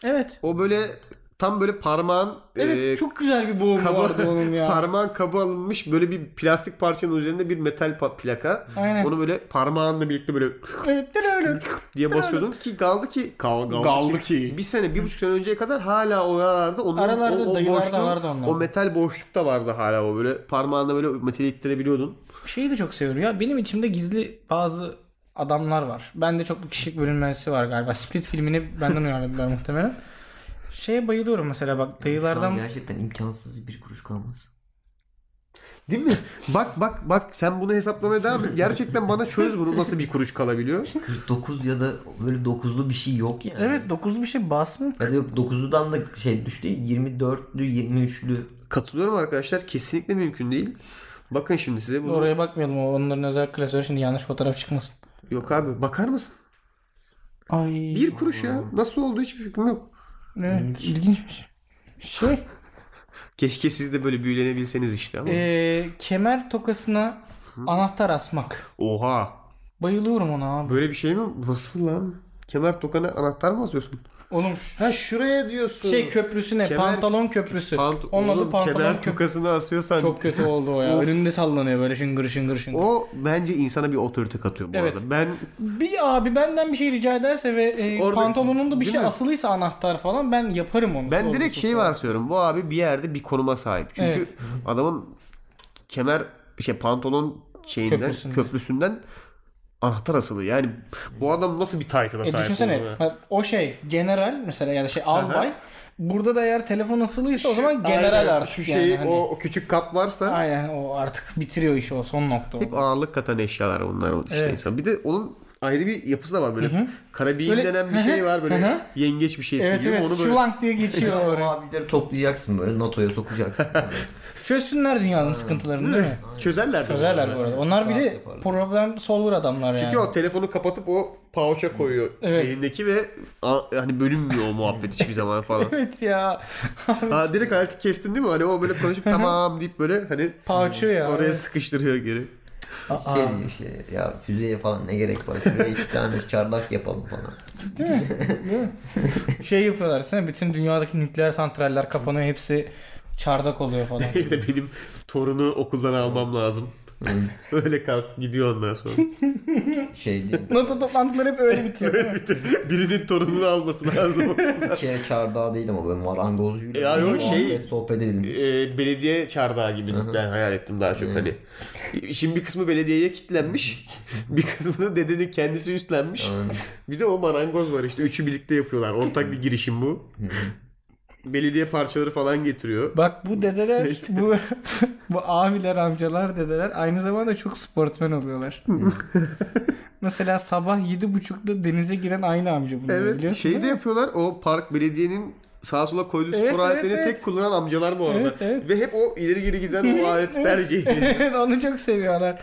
Speaker 3: Evet.
Speaker 4: O böyle tam böyle parmağın
Speaker 3: Evet
Speaker 4: e,
Speaker 3: çok güzel bir boğum
Speaker 4: kaba-
Speaker 3: vardı onun ya.
Speaker 4: parmağın kabı alınmış böyle bir plastik parçanın üzerinde bir metal pa- plaka.
Speaker 3: Aynen.
Speaker 4: Onu böyle parmağınla birlikte böyle
Speaker 3: evet de öyle.
Speaker 4: diye basıyordun ki kaldı ki kal, kaldı,
Speaker 3: Kaldı
Speaker 4: ki.
Speaker 3: ki.
Speaker 4: Bir sene, bir buçuk sene önceye kadar hala o aralarda onun
Speaker 3: Aralarda,
Speaker 4: o, o
Speaker 3: dayılarda
Speaker 4: boşluğun-
Speaker 3: vardı onlar.
Speaker 4: O metal boşluk da vardı hala o böyle parmağınla böyle metali ittirebiliyordun.
Speaker 3: Şeyi de çok seviyorum ya. Benim içimde gizli bazı adamlar var. Bende çoklu kişilik bölünmesi var galiba. Split filmini benden uyarladılar muhtemelen. Şeye bayılıyorum mesela bak
Speaker 1: Şu an
Speaker 3: dayılardan
Speaker 1: gerçekten imkansız bir kuruş kalmaz.
Speaker 4: Değil mi? Bak bak bak sen bunu hesaplamaya devam et. Gerçekten bana çöz bunu nasıl bir kuruş kalabiliyor.
Speaker 1: 49 ya da böyle 9'lu bir şey yok yani.
Speaker 3: Evet dokuzlu bir şey basmıyor.
Speaker 1: Ya da yok 9'ludan da şey düştü. 24'lü 23'lü.
Speaker 4: Katılıyorum arkadaşlar kesinlikle mümkün değil. Bakın şimdi size bunu.
Speaker 3: Oraya bakmayalım o onların özel klasörü şimdi yanlış fotoğraf çıkmasın.
Speaker 4: Yok abi bakar mısın?
Speaker 3: Ay.
Speaker 4: Bir kuruş ya.
Speaker 3: Hmm.
Speaker 4: Nasıl oldu hiçbir fikrim yok.
Speaker 3: Evet, ilginçmiş. Şey
Speaker 4: Keşke siz de böyle büyülenebilseniz işte
Speaker 3: Ee,
Speaker 4: ama.
Speaker 3: eee, kemer tokasına anahtar asmak.
Speaker 4: Oha.
Speaker 3: Bayılıyorum ona abi.
Speaker 4: Böyle bir şey mi? Nasıl lan? Kemer tokana anahtar mı asıyorsun?
Speaker 3: Oğlum
Speaker 4: Ha şuraya diyorsun.
Speaker 3: şey köprüsü ne?
Speaker 4: Kemer-
Speaker 3: Pantalon köprüsü.
Speaker 4: Pant
Speaker 3: Onun adı
Speaker 4: oğlum,
Speaker 3: pantolon
Speaker 4: kemer
Speaker 3: köprüsü.
Speaker 4: tokasını asıyorsan
Speaker 3: Çok kötü oldu o ya. Önünde sallanıyor böyle şıngır şıngır şıngır.
Speaker 4: o bence insana bir otorite katıyor bu
Speaker 3: Evet.
Speaker 4: arada. Ben
Speaker 3: Bir abi benden bir şey rica ederse ve e,
Speaker 4: Orada-
Speaker 3: pantolonunda bir
Speaker 4: Değil
Speaker 3: şey
Speaker 4: mi?
Speaker 3: asılıysa anahtar falan ben yaparım onu.
Speaker 4: ben
Speaker 3: Sorgusuz
Speaker 4: direkt şey
Speaker 3: falan.
Speaker 4: varsıyorum. Bu abi bir yerde bir konuma sahip. Çünkü
Speaker 3: Evet.
Speaker 4: adamın kemer şey pantolon şeyinden
Speaker 3: Köprüsünden.
Speaker 4: köprüsünden, anahtar asılı. Yani bu adam nasıl bir title'a
Speaker 3: E
Speaker 4: sahip
Speaker 3: düşünsene
Speaker 4: oldu?
Speaker 3: bak o şey general mesela ya da şey albay. Burada da eğer telefon asılıysa o zaman general
Speaker 4: Aynen.
Speaker 3: artık
Speaker 4: Şu
Speaker 3: yani.
Speaker 4: şeyi
Speaker 3: hani.
Speaker 4: o, o küçük kap varsa
Speaker 3: Aynen o artık bitiriyor işi o son nokta. o.
Speaker 4: hep ağırlık katan eşyalar onlar o işte
Speaker 3: Evet.
Speaker 4: insan. Bir de onun ayrı bir yapısı da var böyle. Karabiyin
Speaker 3: Böyle-
Speaker 4: denen bir
Speaker 3: Hı hı.
Speaker 4: şey var böyle
Speaker 3: Hı hı.
Speaker 4: yengeç bir şeysi
Speaker 3: Evet
Speaker 4: gibi
Speaker 3: evet
Speaker 4: onu böyle
Speaker 3: şılank diye geçiyor
Speaker 1: O
Speaker 3: oraya.
Speaker 1: abileri toplayacaksın böyle NATO'ya sokacaksın.
Speaker 3: Çözsünler dünyanın sıkıntılarını değil mi?
Speaker 4: çözerler.
Speaker 3: Çözerler bu arada. Onlar bir de
Speaker 1: Yaparlar.
Speaker 3: problem solver adamlar yani.
Speaker 4: Çünkü o telefonu kapatıp o pouch'a koyuyor
Speaker 3: Evet.
Speaker 4: elindeki ve a- hani bölünmüyor o muhabbet hiçbir zaman falan.
Speaker 3: Evet ya.
Speaker 4: ha, direkt aleti kestin değil mi? Hani o böyle konuşup tamam deyip böyle hani
Speaker 3: Pauçu ya.
Speaker 4: oraya
Speaker 3: Evet.
Speaker 4: sıkıştırıyor geri.
Speaker 3: Aa.
Speaker 1: şey diyor işte ya füzeye falan ne gerek var. Şuraya iki tane çardak yapalım falan.
Speaker 3: Değil mi? Değil mi? şey yapıyorlar sana bütün dünyadaki nükleer santraller kapanıyor hepsi çardak oluyor falan.
Speaker 4: işte benim torunu okuldan almam lazım. Öyle kalk gidiyor ondan sonra.
Speaker 1: Şey diyor.
Speaker 3: NATO toplantıları hep öyle bitiyor. değil mi?
Speaker 4: Birinin torununu alması lazım.
Speaker 1: Şey çardağı değil ama böyle marangozcuyla.
Speaker 4: Ya yok, şey-
Speaker 1: muhabbet, Sohbet edelim.
Speaker 4: Ee, belediye çardağı gibi ben hayal ettim daha çok hani. İşin bir kısmı belediyeye kitlenmiş. bir kısmını dedenin kendisi üstlenmiş.
Speaker 1: Aynen.
Speaker 4: Bir de o marangoz var işte. Üçü birlikte yapıyorlar. Ortak bir girişim bu. Belediye parçaları falan getiriyor.
Speaker 3: Bak bu dedeler, bu bu abiler, amcalar, dedeler aynı zamanda çok sportmen oluyorlar.
Speaker 4: Hmm.
Speaker 3: Mesela sabah yedi buçukta denize giren aynı amca bunlar
Speaker 4: Evet
Speaker 3: biliyorsun
Speaker 4: şeyi de
Speaker 3: değil mi?
Speaker 4: yapıyorlar. O park belediyenin sağa sola koyduğu
Speaker 3: Evet,
Speaker 4: spor
Speaker 3: evet,
Speaker 4: aletlerini
Speaker 3: evet.
Speaker 4: tek kullanan amcalar bu arada.
Speaker 3: Evet, evet.
Speaker 4: Ve hep o ileri geri giden o aleti tercih ediyor.
Speaker 3: Evet onu çok seviyorlar.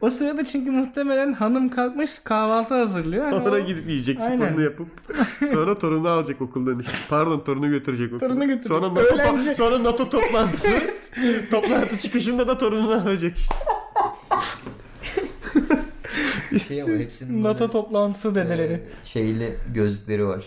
Speaker 3: o sırada çünkü muhtemelen hanım kalkmış kahvaltı hazırlıyor. Hani
Speaker 4: Sonra
Speaker 3: o
Speaker 4: gidip yiyecek
Speaker 3: Aynen.
Speaker 4: sporunu yapıp. Sonra torunu alacak okuldan. işte. Pardon torunu götürecek okula.
Speaker 3: Torunu götürecek.
Speaker 4: Sonra NATO,
Speaker 3: Öğlenci.
Speaker 4: sonra NATO toplantısı. Toplantı çıkışında da torununu alacak. işte.
Speaker 1: Şey ama hepsinin böyle,
Speaker 3: NATO toplantısı dedeleri.
Speaker 1: e, şeyli gözlükleri var.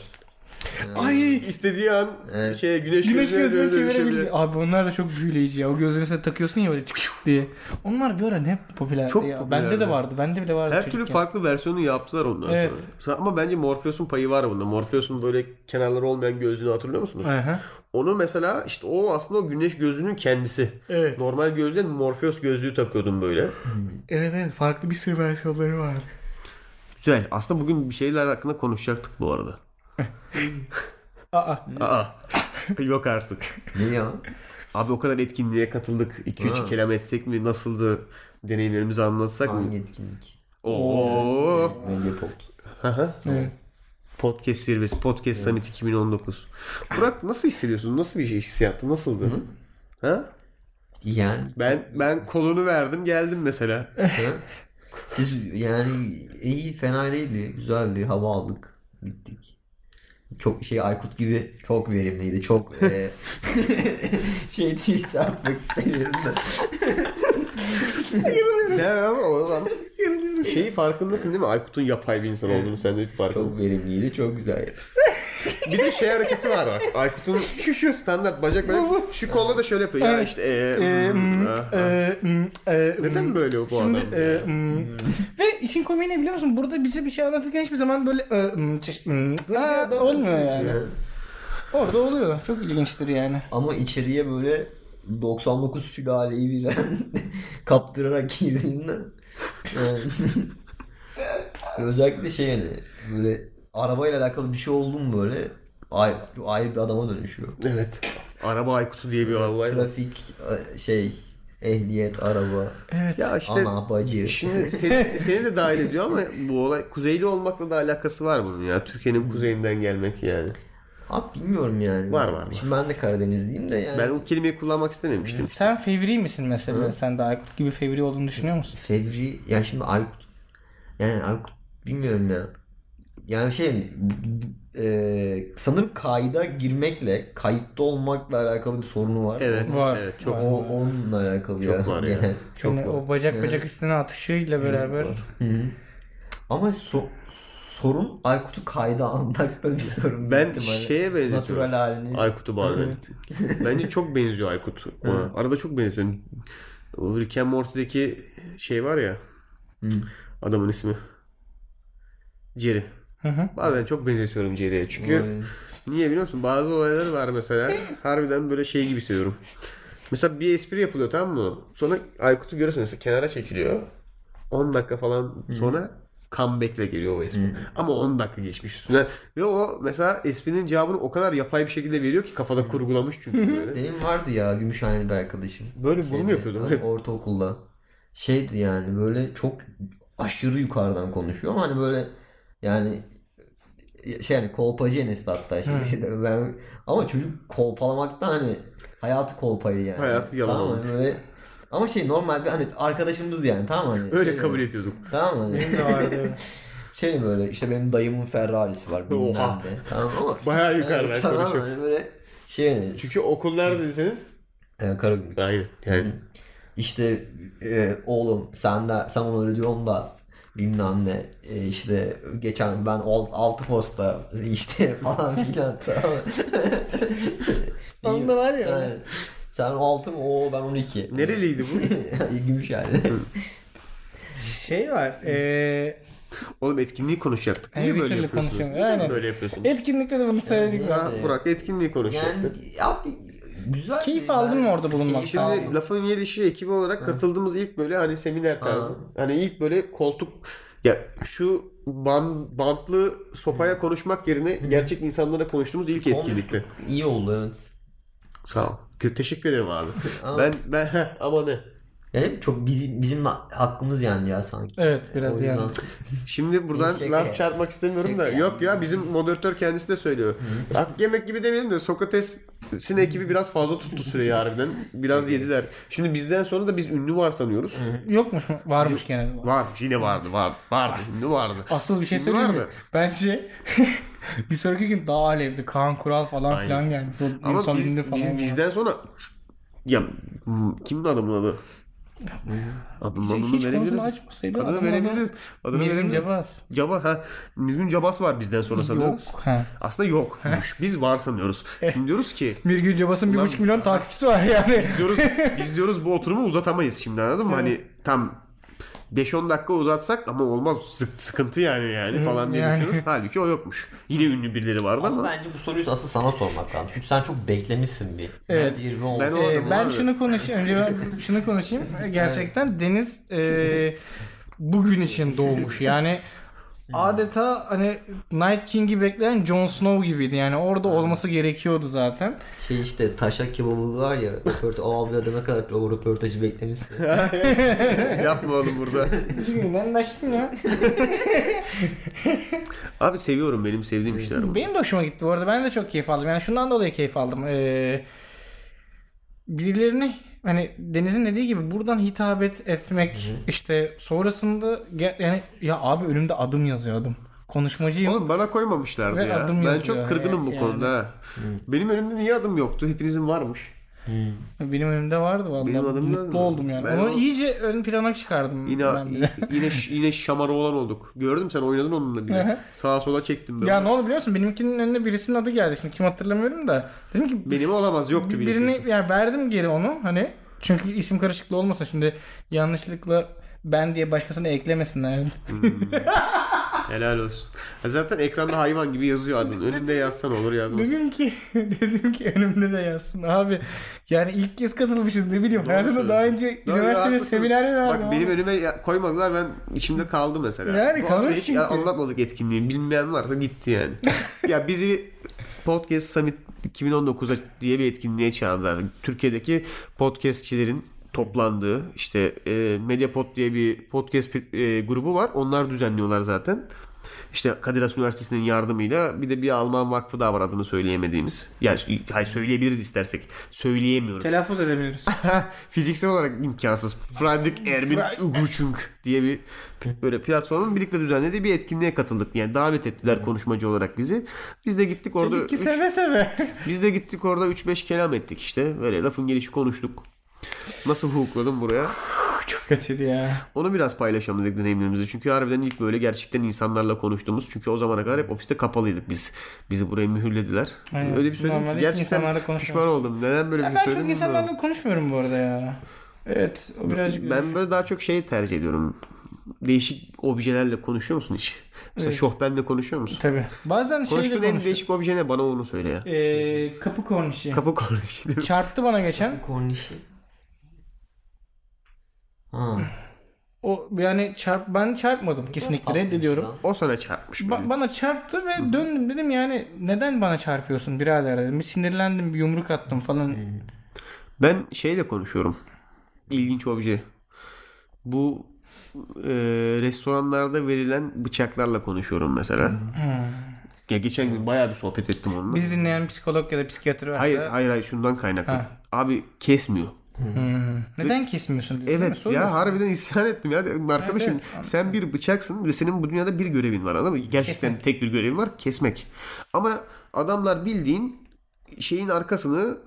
Speaker 3: Ay
Speaker 4: İstediği an
Speaker 1: Evet.
Speaker 4: şeye güneş,
Speaker 3: güneş
Speaker 4: gözlüğüne
Speaker 3: gözlüğü
Speaker 4: dönüşebilir.
Speaker 3: çevirebildi. Abi onlar da çok büyüleyici ya. O gözlüğünü sen takıyorsun ya böyle çık çık diye. Onlar bir ara ne popülerdi
Speaker 4: Çok
Speaker 3: ya.
Speaker 4: popülerdi.
Speaker 3: Bende de vardı. Bende bile vardı.
Speaker 4: Her türlü
Speaker 3: çocukken.
Speaker 4: farklı versiyonu yaptılar ondan
Speaker 3: Evet.
Speaker 4: sonra. Ama bence Morpheus'un payı var bunda. Morpheus'un böyle kenarları olmayan gözlüğünü hatırlıyor musunuz?
Speaker 3: Aha.
Speaker 4: Onu mesela işte o aslında o güneş gözlüğünün kendisi.
Speaker 3: Evet.
Speaker 4: Normal gözlüğe Morpheus gözlüğü takıyordum böyle.
Speaker 3: Evet evet farklı bir sürü versiyonları vardı.
Speaker 4: Güzel. Aslında bugün bir şeyler hakkında konuşacaktık bu arada.
Speaker 3: Aa.
Speaker 4: Aa. Yok artık.
Speaker 1: Ne ya?
Speaker 4: Abi o kadar etkinliğe katıldık. 2-3
Speaker 1: Ha.
Speaker 4: kelam etsek mi? Nasıldı? Deneyimlerimizi anlatsak
Speaker 1: Hangi
Speaker 4: mı?
Speaker 1: etkinlik?
Speaker 4: Oo.
Speaker 1: Medya Pod.
Speaker 3: Evet.
Speaker 4: Podcast Service, Podcast Summit 2019. Burak nasıl hissediyorsun? Nasıl bir şey hissiyattı? Nasıldı? Ha?
Speaker 1: Yani
Speaker 4: Ben ben kolunu verdim geldim mesela.
Speaker 1: Ha? Siz yani iyi fena değildi. Güzeldi. Hava aldık. Gittik. Çok şey Aykut gibi çok verimliydi. Çok e, şey değil tartmak istemiyorum da.
Speaker 4: Sen ama o zaman şeyi farkındasın değil mi? Aykut'un yapay bir insan olduğunu sen de bir farkındasın.
Speaker 1: Çok verimliydi. Çok güzel.
Speaker 4: Bir de şey hareketi var bak. Aykut'un şu şu standart bacak bacak. Şu kolla da şöyle yapıyor. Ya
Speaker 3: Evet.
Speaker 4: işte ee,
Speaker 3: Ee,
Speaker 4: hmm,
Speaker 3: mm,
Speaker 4: ah,
Speaker 1: e,
Speaker 4: ah.
Speaker 3: ee, mm, ee, mm.
Speaker 4: Neden böyle bu
Speaker 3: Şimdi,
Speaker 4: adam?
Speaker 3: e,
Speaker 4: ya?
Speaker 3: mm. Ve işin komiği ne biliyor musun? Burada bize bir şey anlatırken hiçbir zaman böyle e, mm, çeş- mm, aa,
Speaker 4: adam-
Speaker 3: olmuyor yani. Orada oluyor. Çok ilginçtir yani.
Speaker 1: Ama içeriye böyle 99 sülaleyi birden kaptırarak girdiğinde yani özellikle şey yani böyle arabayla alakalı bir şey oldu mu böyle ay- ayrı bir adama dönüşüyor.
Speaker 4: Evet. Araba Aykut'u diye bir olay var.
Speaker 1: Trafik e, şey ehliyet araba
Speaker 4: Ya işte
Speaker 1: ana bacı
Speaker 4: Şimdi seni, seni de dahil ediyor ama bu olay kuzeyli olmakla da alakası var bunun ya. Türkiye'nin kuzeyinden gelmek yani.
Speaker 1: abi bilmiyorum yani.
Speaker 4: Var, var, var.
Speaker 1: Şimdi ben de Karadenizliyim de yani.
Speaker 4: Ben o kelimeyi kullanmak istememiştim.
Speaker 3: Sen fevri misin mesela? Sen de Aykut gibi fevri olduğunu düşünüyor musun?
Speaker 1: Fevri ya şimdi Aykut yani Aykut bilmiyorum ya. Yani şey bu- bu- eee, sanırım kayda girmekle kayıtta olmakla alakalı bir sorunu var.
Speaker 4: Evet.
Speaker 3: Var.
Speaker 4: Evet
Speaker 1: O,
Speaker 4: çok
Speaker 3: Var.
Speaker 1: onunla alakalı
Speaker 4: Çok
Speaker 1: ya.
Speaker 4: var ya.
Speaker 1: Genel. Çok
Speaker 3: Yani
Speaker 1: var.
Speaker 3: o bacak
Speaker 1: Evet.
Speaker 3: bacak üstüne atışıyla beraber.
Speaker 1: Hı hı. Ama so- sorun Aykut'u kayda almakla bir sorun.
Speaker 4: Ben şey
Speaker 1: büyük ihtimalle.
Speaker 4: şeye benzetiyorum.
Speaker 1: Natural halini.
Speaker 4: Aykut'u bazen. Bence çok benziyor Aykut ona. Arada çok benziyor. O Rick and Morty'deki şey var ya. Adamın ismi. Jerry.
Speaker 3: Hı hı.
Speaker 4: Bazen çok benzetiyorum Jerry'e. Çünkü niye biliyor musun? Bazı olaylar var mesela. Harbiden böyle şey gibi hissediyorum. Mesela bir espri yapılıyor tamam mı? Sonra Aykut'u görüyorsun mesela kenara çekiliyor. 10 dakika falan sonra comeback'le geliyor o espri. Ama 10 dakika geçmiş üstüne. Ve o mesela esprinin cevabını o kadar yapay bir şekilde veriyor ki kafada kurgulamış çünkü böyle.
Speaker 1: Benim vardı ya Gümüşhaneli bir arkadaşım.
Speaker 4: Böyle bunu mu
Speaker 3: Şey,
Speaker 1: Şeyde,
Speaker 4: yapıyordu?
Speaker 1: hani Ortaokulda. Şeydi yani böyle çok aşırı yukarıdan konuşuyor ama hani böyle yani şey yani kolpacı Enes'ti hatta şimdi. ben, ama çocuk kolpalamaktan hani hayatı kolpaydı yani.
Speaker 4: Hayatı yalan
Speaker 1: Tamam mı?
Speaker 4: olmuş.
Speaker 1: böyle ama şey normal bir hani arkadaşımızdı yani tamam mı? hani.
Speaker 4: Öyle
Speaker 1: Şey
Speaker 4: kabul
Speaker 1: böyle,
Speaker 4: ediyorduk.
Speaker 1: Tamam mı? hani?
Speaker 3: Benim de vardı.
Speaker 1: şey böyle işte benim dayımın Ferrari'si var bilmem
Speaker 4: Oha.
Speaker 1: ne. Tamam ama
Speaker 4: Bayağı yukarıdan
Speaker 1: tamam
Speaker 4: konuşuyor.
Speaker 1: hani böyle şey yani.
Speaker 4: Çünkü okul neredeydi senin?
Speaker 1: Ee, Karagümrük.
Speaker 4: Aynen. Yani
Speaker 1: İşte e, oğlum sen de sen onu öyle diyorsun da bilmem ne E, işte geçen ben al, altı posta işte falan filan tamam.
Speaker 3: Onda var ya.
Speaker 1: Yani, sen altı mı? Oo ben 12.
Speaker 4: nereliydi bu?
Speaker 1: Gümüş yani.
Speaker 3: şey var. E,
Speaker 4: Oğlum etkinliği konuşacaktık.
Speaker 3: Hani
Speaker 4: Niye
Speaker 3: bir
Speaker 4: böyle
Speaker 3: türlü
Speaker 4: yapıyorsunuz?
Speaker 3: konuşamıyor.
Speaker 4: Niye
Speaker 3: Aynen.
Speaker 4: böyle yapıyorsunuz?
Speaker 3: etkinlikte de bunu söyledik.
Speaker 1: Yani-
Speaker 4: Ha, Burak etkinliği konuşacaktık.
Speaker 1: yani abi güzel.
Speaker 3: Keyif
Speaker 1: bir-
Speaker 3: aldın mı orada
Speaker 1: Keyif-
Speaker 3: bulunmaktan?
Speaker 4: Şimdi
Speaker 3: Aldım.
Speaker 4: lafın gelişi ekibi olarak katıldığımız ilk böyle hani seminer tarzı. Hani ilk böyle koltuk ya şu ban- bantlı sopaya konuşmak yerine gerçek insanlara konuştuğumuz ilk etkinlikti.
Speaker 1: İyi oldu evet.
Speaker 4: Sağ ol. Kö- Teşekkür ederim abi.
Speaker 1: Ama-
Speaker 4: ben ben ama ne?
Speaker 1: Yani çok bizim bizim hakkımız yendi ya sanki.
Speaker 3: Evet biraz
Speaker 1: O yüzden-
Speaker 3: yani.
Speaker 4: Şimdi buradan
Speaker 1: Teşekkür
Speaker 4: laf
Speaker 1: ederim.
Speaker 4: çarpmak istemiyorum da
Speaker 1: Teşekkür
Speaker 4: yok ya bizim moderatör kendisi de söylüyor. Hak yemek gibi demeyelim de Sokrates'in ekibi biraz fazla tuttu süreyi harbiden. Biraz yediler. Şimdi bizden sonra da biz ünlü var sanıyoruz.
Speaker 3: Yokmuş mu? Varmış gene.
Speaker 4: Var yine vardı vardı vardı ünlü vardı.
Speaker 3: Ah, Asıl bir şey
Speaker 4: Ünlü
Speaker 3: söyleyeyim mi?
Speaker 4: vardı.
Speaker 3: Bence bir sonraki gün daha alevdi. Kaan Kural falan
Speaker 4: Aynen.
Speaker 3: filan geldi. O
Speaker 4: Ama
Speaker 3: insan
Speaker 4: biz,
Speaker 3: indi falan.
Speaker 4: biz- bizden sonra ya hmm, kimdi adamın adı? Adını adını
Speaker 3: Hiç- şey, hiç konusunu
Speaker 4: verebiliriz.
Speaker 3: açmasaydı.
Speaker 4: Adını
Speaker 3: adamın
Speaker 4: verebiliriz.
Speaker 3: adı
Speaker 4: Adını
Speaker 3: Nilgün
Speaker 4: verebiliriz.
Speaker 3: Cebaz.
Speaker 4: Caba ha. Nilgün Cabas var bizden sonra sanıyoruz.
Speaker 3: Yok. Ha.
Speaker 4: Aslında yokmuş. Biz var sanıyoruz. Şimdi diyoruz ki
Speaker 3: Mirgün Cabas'ın bir
Speaker 4: Ulan-
Speaker 3: buçuk milyon takipçisi var yani.
Speaker 4: biz diyoruz, biz diyoruz bu oturumu uzatamayız şimdi anladın mı? Hani tam 5-10 dakika uzatsak ama olmaz sık- sıkıntı yani yani falan diye
Speaker 3: yani.
Speaker 4: düşünüyoruz. Halbuki o yokmuş. Yine ünlü birileri vardı
Speaker 1: Ama
Speaker 4: ama
Speaker 1: bence bu soruyu asıl sana sormak lazım. Çünkü sen çok beklemişsin bir.
Speaker 3: Evet.
Speaker 1: Zirve oldu.
Speaker 4: Ben o-
Speaker 3: Ee,
Speaker 4: adamı
Speaker 3: ben
Speaker 4: abi.
Speaker 3: şunu konuşayım. Önce ben şunu konuşayım. Gerçekten Deniz e, bugün için doğmuş. Yani adeta hani Night King'i bekleyen Jon Snow gibiydi. Yani orada olması gerekiyordu zaten.
Speaker 1: Şey işte taşak kebabı var ya. Röportaj, o abla da ne kadar o röportajı beklemişsin.
Speaker 4: yapma oğlum burada.
Speaker 3: Çünkü ben de açtım ya.
Speaker 4: Abi seviyorum benim sevdiğim işler. bunlar.
Speaker 3: Benim de hoşuma gitti bu arada. Ben de çok keyif aldım. Yani şundan dolayı keyif aldım. Ee, birilerine hani Deniz'in dediği gibi buradan hitabet etmek işte sonrasında ge- yani ya abi önümde adım yazıyor adım. Konuşmacıyım.
Speaker 4: Oğlum bana koymamışlardı
Speaker 3: Ve
Speaker 4: ya.
Speaker 3: adım
Speaker 4: Ben
Speaker 3: yazıyor.
Speaker 4: çok kırgınım bu
Speaker 3: Evet,
Speaker 4: konuda. ha. Benim önümde niye adım yoktu? Hepinizin varmış.
Speaker 3: Benim önümde vardı vallahi.
Speaker 4: Benim adım yazmıyor.
Speaker 3: Mutlu oldum yani.
Speaker 4: Ben
Speaker 3: Onu
Speaker 4: o-
Speaker 3: iyice ön plana çıkardım
Speaker 4: Yine
Speaker 3: ben de.
Speaker 4: yine yine şamara olan olduk. Gördüm sen oynadın onunla bir
Speaker 3: Aha.
Speaker 4: de. Sağa sola çektim böyle.
Speaker 3: Ya ne oldu biliyor musun? Benimkinin önüne birisinin adı geldi. Şimdi kim hatırlamıyorum da. Dedim ki
Speaker 4: benim olamaz yoktu birisi.
Speaker 3: birini yani verdim geri onu hani çünkü isim karışıklığı olmasın şimdi yanlışlıkla ben diye başkasını eklemesinler.
Speaker 4: Helal olsun. Ha, Zaten ekranda hayvan gibi yazıyor adın. Önünde yazsan olur yazmaz.
Speaker 3: dedim ki dedim ki önümde de yazsın abi. Yani ilk kez katılmışız ne bileyim. Hayatımda daha önce
Speaker 4: Doğru,
Speaker 3: üniversitede
Speaker 4: haklısın.
Speaker 3: seminer verdim.
Speaker 4: Bak benim
Speaker 3: ama.
Speaker 4: önüme ya- koymadılar ben içimde kaldı mesela.
Speaker 3: Yani
Speaker 4: Bu
Speaker 3: kalır
Speaker 4: arada hiç
Speaker 3: çünkü.
Speaker 4: ya- anlatmadık etkinliği. Bilmeyen varsa gitti yani. ya bizi Podcast Summit 2019'a diye bir etkinliğe çağırdılar. Türkiye'deki podcastçilerin toplandığı işte e, Mediapod diye bir podcast e, grubu var. Onlar düzenliyorlar zaten. İşte Kadir Has Üniversitesi'nin yardımıyla bir de bir Alman vakfı daha var adını söyleyemediğimiz. Yani hayır söyleyebiliriz istersek. Söyleyemiyoruz.
Speaker 3: Telaffuz edebiliriz.
Speaker 4: Ha, fiziksel olarak imkansız. Frandik Ermin Uguçunk diye bir böyle platformun birlikte düzenlediği bir etkinliğe katıldık. Yani davet ettiler konuşmacı olarak bizi. Biz de gittik orada
Speaker 3: Dedik ki
Speaker 4: üç-
Speaker 3: seve seve.
Speaker 4: biz de gittik orada 3-5 kelam ettik işte. Böyle lafın gelişi konuştuk. Nasıl hukukladım buraya?
Speaker 3: Çok kötüydü ya.
Speaker 4: Onu biraz paylaşalım dedik deneyimlerimizi. Çünkü harbiden ilk böyle gerçekten insanlarla konuştuğumuz. Çünkü o zamana kadar hep ofiste kapalıydık biz. Bizi buraya mühürlediler.
Speaker 3: Aynen.
Speaker 4: Öyle bir söyledim
Speaker 3: Normalde
Speaker 4: ki
Speaker 3: hiç insanlarla
Speaker 4: gerçekten
Speaker 3: konuşmamış.
Speaker 4: pişman oldum. Neden böyle bir
Speaker 3: Ya
Speaker 4: şey
Speaker 3: ben
Speaker 4: söyledim
Speaker 3: çok
Speaker 4: bilmiyorum.
Speaker 3: insanlarla konuşmuyorum bu arada ya. Evet o birazcık
Speaker 4: Ben böyle daha çok şeyi tercih ediyorum. Değişik objelerle konuşuyor musun hiç? Mesela
Speaker 3: Evet.
Speaker 4: şofbenle konuşuyor musun?
Speaker 3: Tabii. Bazen şeyle
Speaker 4: Konuştuğun en
Speaker 3: konuşuyorum.
Speaker 4: değişik obje ne? Bana onu söyle ya.
Speaker 3: Ee, kapı kornişi.
Speaker 4: Kapı konuş.
Speaker 3: Çarptı bana geçen.
Speaker 1: Kornişi. Ha.
Speaker 3: O yani çarp ben çarpmadım kesinlikle
Speaker 1: Tatlıymış
Speaker 3: reddediyorum.
Speaker 1: lan.
Speaker 4: o sana çarpmış.
Speaker 3: Ba-
Speaker 4: beni.
Speaker 3: bana çarptı ve döndüm dedim yani neden bana çarpıyorsun birader dedim. Bir sinirlendim bir yumruk attım falan.
Speaker 4: Ben şeyle konuşuyorum. İlginç obje. Bu e, restoranlarda verilen bıçaklarla konuşuyorum mesela. Ya geçen gün bayağı bir sohbet ettim onunla.
Speaker 3: Hmm. Biz dinleyen psikolog ya da psikiyatr varsa
Speaker 4: Hayır hayır hayır şundan kaynaklı.
Speaker 3: Ha.
Speaker 4: Abi kesmiyor.
Speaker 3: neden kesmiyorsun dedi. değil mi?
Speaker 4: Evet
Speaker 3: Soruyorsun.
Speaker 4: ya harbiden isyan ettim ya. Arkadaşım
Speaker 3: Evet, evet.
Speaker 4: sen bir bıçaksın ve senin bu dünyada bir görevin var anladın mı? Gerçekten
Speaker 3: Kesmek.
Speaker 4: tek bir görevin var kesmek. Ama adamlar bildiğin şeyin arkasını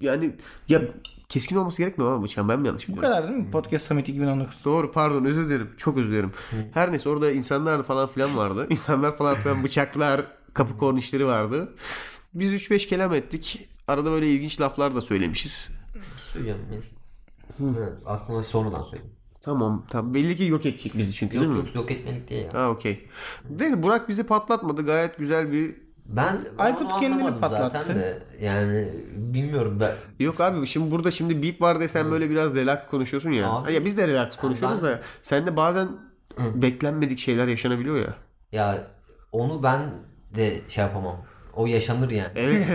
Speaker 4: yani ya keskin olması gerekmiyor ama bıçağın ben mi yanlış
Speaker 3: Bu
Speaker 4: biliyorum?
Speaker 3: kadar değil mi? Podcast Summit 2019.
Speaker 4: Doğru pardon özür dilerim çok özür dilerim. Her neyse orada insanlar falan filan vardı. İnsanlar falan filan bıçaklar kapı kornişleri vardı. Biz 3-5 kelam ettik. Arada böyle ilginç laflar da söylemişiz.
Speaker 1: şey Söyleyeceğim biz. Evet, aklıma sonradan söyledim.
Speaker 4: Tamam tamam belli ki yok edecek bizi çünkü değil
Speaker 1: Yok
Speaker 4: mi?
Speaker 1: yok yok etmedik diye ya.
Speaker 4: Ha okey. Neyse Burak bizi patlatmadı. Gayet güzel bir...
Speaker 1: Ben ben
Speaker 3: Aykut
Speaker 1: onu
Speaker 3: kendini
Speaker 1: anlamadım
Speaker 3: patlattı.
Speaker 1: Zaten de yani bilmiyorum ben.
Speaker 4: Yok abi şimdi burada şimdi beep var diye sen böyle biraz relax konuşuyorsun ya.
Speaker 1: Abi-
Speaker 4: Ha ya biz de relax konuşuyoruz
Speaker 1: ben-
Speaker 4: da sen de bazen beklenmedik şeyler yaşanabiliyor ya.
Speaker 1: Ya onu ben de şey yapamam. O yaşanır yani.
Speaker 4: Evet.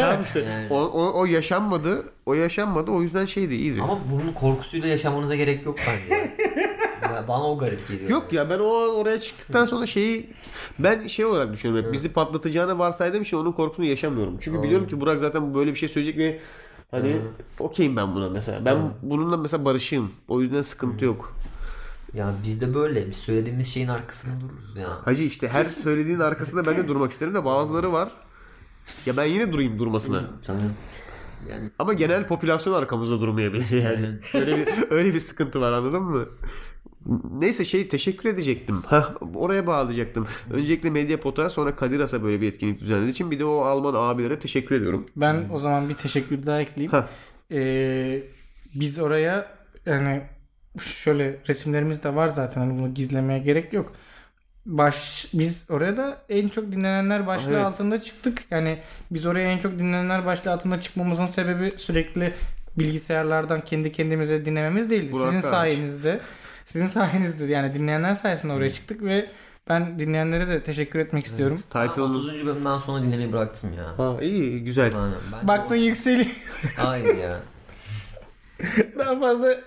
Speaker 4: tamam işte. O, o, o yaşanmadı. O yaşanmadı. O yüzden şey şeydi iyiydi.
Speaker 1: Ama bunun korkusuyla yaşamanıza gerek yok bence. Ba- Bana o garip geliyor.
Speaker 4: Yok ya ben o oraya çıktıktan sonra şeyi ben şey olarak düşünüyorum. hep, Bizi patlatacağını varsaydım şey onun korkusunu yaşamıyorum. Çünkü biliyorum ki Burak zaten böyle bir şey söyleyecek ve hani okeyim ben buna mesela. Ben bununla mesela barışığım. O yüzden sıkıntı yok.
Speaker 1: Yani biz de böyle biz söylediğimiz şeyin arkasında dururuz yani.
Speaker 4: Hacı işte her söylediğin arkasında ben de durmak isterim de bazıları var. Ya ben yine durayım durmasına.
Speaker 1: Sanırım. Yani
Speaker 4: Ama genel popülasyon arkamızda durmayabilir yani. öyle, bir, öyle bir sıkıntı var anladın mı? Neyse şey teşekkür edecektim. Hah, oraya bağlayacaktım. Öncelikle Medyapot'a sonra Kadiras'a böyle bir etkinlik düzenlediği için bir de o Alman abilere teşekkür ediyorum.
Speaker 3: Ben o zaman bir teşekkür daha ekleyeyim.
Speaker 4: Hah.
Speaker 3: Ee, biz oraya yani şöyle resimlerimiz de var zaten hani bunu gizlemeye gerek yok. Baş, biz oraya da en çok dinlenenler başlığı
Speaker 4: Evet.
Speaker 3: altında çıktık. Yani biz oraya en çok dinlenenler başlığı altında çıkmamızın sebebi sürekli bilgisayarlardan kendi kendimize dinlememiz değildi.
Speaker 4: Burak
Speaker 3: sizin
Speaker 4: kardeş.
Speaker 3: sayenizde. Sizin sayenizde yani dinleyenler sayesinde oraya çıktık ve ben dinleyenlere de teşekkür etmek istiyorum.
Speaker 4: Title'ımız...
Speaker 1: 30. bölümden sonra dinlemeyi bıraktım ya.
Speaker 4: Ha, iyi güzel.
Speaker 1: Aynen. Bence
Speaker 3: Baktın yükseliyor.
Speaker 1: Hayır ya.
Speaker 3: Daha fazla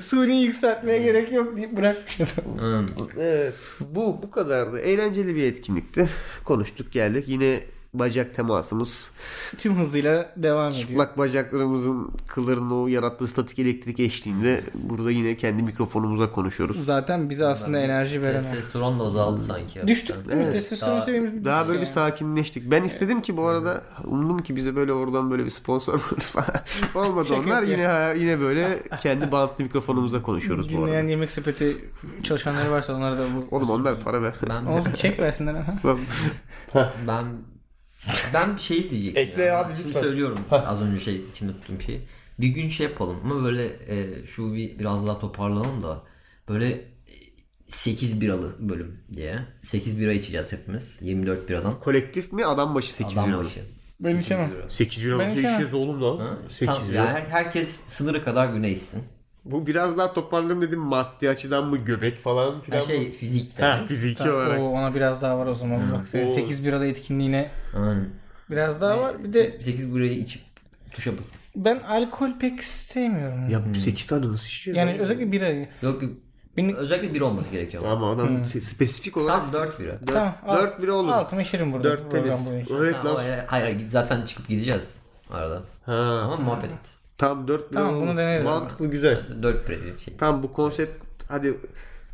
Speaker 3: suni yükseltmeye gerek yok deyip bırakmayalım.
Speaker 1: Hmm.
Speaker 4: Evet, bu bu kadardı. Eğlenceli bir etkinlikti. Konuştuk geldik. Yine bacak temasımız.
Speaker 3: Tüm hızıyla devam ediyor.
Speaker 4: Çıplak bacaklarımızın kıllarının o yarattığı statik elektrik eşliğinde burada yine kendi mikrofonumuza konuşuyoruz.
Speaker 3: Zaten bize aslında enerji veren.
Speaker 1: Testosteron da azaldı sanki. ya.
Speaker 3: Düştük değil mi?
Speaker 4: Evet.
Speaker 3: Testosteron
Speaker 1: Daha-
Speaker 3: seviyemiz düştü
Speaker 4: Daha böyle bir
Speaker 3: yani.
Speaker 4: sakinleştik. Ben istedim ki bu arada umdum ki bize böyle oradan böyle bir sponsor olur falan. Olmadı
Speaker 3: Şaka
Speaker 4: onlar. Yine ha- yine böyle kendi bantlı mikrofonumuza konuşuyoruz bu
Speaker 3: Dinleyen
Speaker 4: arada.
Speaker 3: yemek sepeti çalışanları varsa onlara da bu.
Speaker 4: Oğlum onlar para ver.
Speaker 1: Ben,
Speaker 3: Oğlum çek versinler ha.
Speaker 4: Lan,
Speaker 1: ben ben bir şey diyecektim.
Speaker 4: Ekle
Speaker 1: ya.
Speaker 4: abi
Speaker 1: Şimdi
Speaker 4: lütfen.
Speaker 1: söylüyorum az önce şey içinde tuttuğum şeyi. Bir gün şey yapalım ama böyle e, şu bir biraz daha toparlanalım da böyle e, 8 biralı bölüm diye. 8 bira içeceğiz hepimiz. 24 biradan.
Speaker 4: Kolektif mi adam başı 8
Speaker 1: Adam
Speaker 4: euro.
Speaker 1: başı.
Speaker 3: Ben içemem.
Speaker 4: 8 euro
Speaker 3: Ben
Speaker 4: olsa
Speaker 3: içemem.
Speaker 4: içeceğiz oğlum
Speaker 1: Ha?
Speaker 4: lan. 8
Speaker 1: Tam,
Speaker 4: euro.
Speaker 1: yani her- herkes sınırı kadar güne içsin.
Speaker 4: Bu biraz daha toparladım dedim maddi açıdan mı göbek falan
Speaker 1: Her
Speaker 4: filan. mı?
Speaker 1: şey fizikte.
Speaker 4: Ha, fiziki olarak.
Speaker 3: Oo, ona biraz daha var o zaman. Bak senin
Speaker 4: Oo.
Speaker 3: 8 birada etkinliğine
Speaker 1: Aynen.
Speaker 3: biraz daha var. Bir de
Speaker 1: 8 birayı içip tuşa basın.
Speaker 3: ben alkol pek sevmiyorum.
Speaker 1: Hmm.
Speaker 4: Ya 8 tane nasıl içiyor?
Speaker 3: Yani
Speaker 4: lan?
Speaker 3: özellikle birayı.
Speaker 1: Yok yok.
Speaker 3: Benim-
Speaker 1: Özellikle bira olması gerekiyor. ama.
Speaker 4: Ama adam se- spesifik olarak
Speaker 1: Tam 4 bira.
Speaker 3: Hmm. Tamam.
Speaker 4: 4 bile olur.
Speaker 3: Altıma işerim burada.
Speaker 4: 4
Speaker 3: Program
Speaker 4: temiz.
Speaker 3: boyunca.
Speaker 4: Evet
Speaker 1: Tamam,
Speaker 4: lan.
Speaker 1: hayır, hayır git- zaten çıkıp gideceğiz arada.
Speaker 4: Ha.
Speaker 1: Ama muhabbet et.
Speaker 4: Tam 4 bile
Speaker 3: Tamam,
Speaker 4: olur.
Speaker 3: bunu deneriz ama.
Speaker 4: Mantıklı güzel.
Speaker 1: 4 bira bir şey.
Speaker 4: Tam bu konsept hadi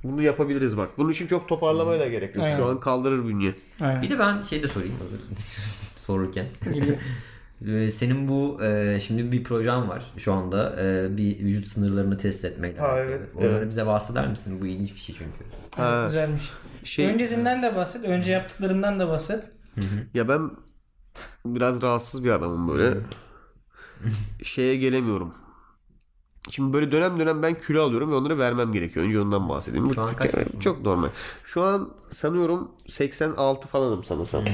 Speaker 4: bunu yapabiliriz bak. Bunun için çok toparlamaya da gerek yok.
Speaker 3: Aynen.
Speaker 4: Şu an kaldırır bünye.
Speaker 3: Aynen.
Speaker 1: Bir de ben şey de sorayım hazır sorurken.
Speaker 3: Geliyor.
Speaker 1: Ee, Senin bu e, şimdi bir projen var şu anda e, bir vücut sınırlarını test etmekle.
Speaker 4: Ha,
Speaker 1: alakalı.
Speaker 4: evet,
Speaker 1: Onları
Speaker 4: evet.
Speaker 1: bize bahseder misin? Bu ilginç bir şey çünkü.
Speaker 4: Ha.
Speaker 3: Güzelmiş.
Speaker 4: Şey
Speaker 3: Öncesinden de bahset, önce yaptıklarından da bahset.
Speaker 4: ya ben biraz rahatsız bir adamım böyle. Şeye gelemiyorum. Şimdi böyle dönem dönem ben kilo alıyorum ve onları vermem gerekiyor. Önce ondan bahsedeyim. Bu
Speaker 1: Şu an kaç yaşındasın?
Speaker 4: çok normal. Şu an sanıyorum 86 falanım sanırsam.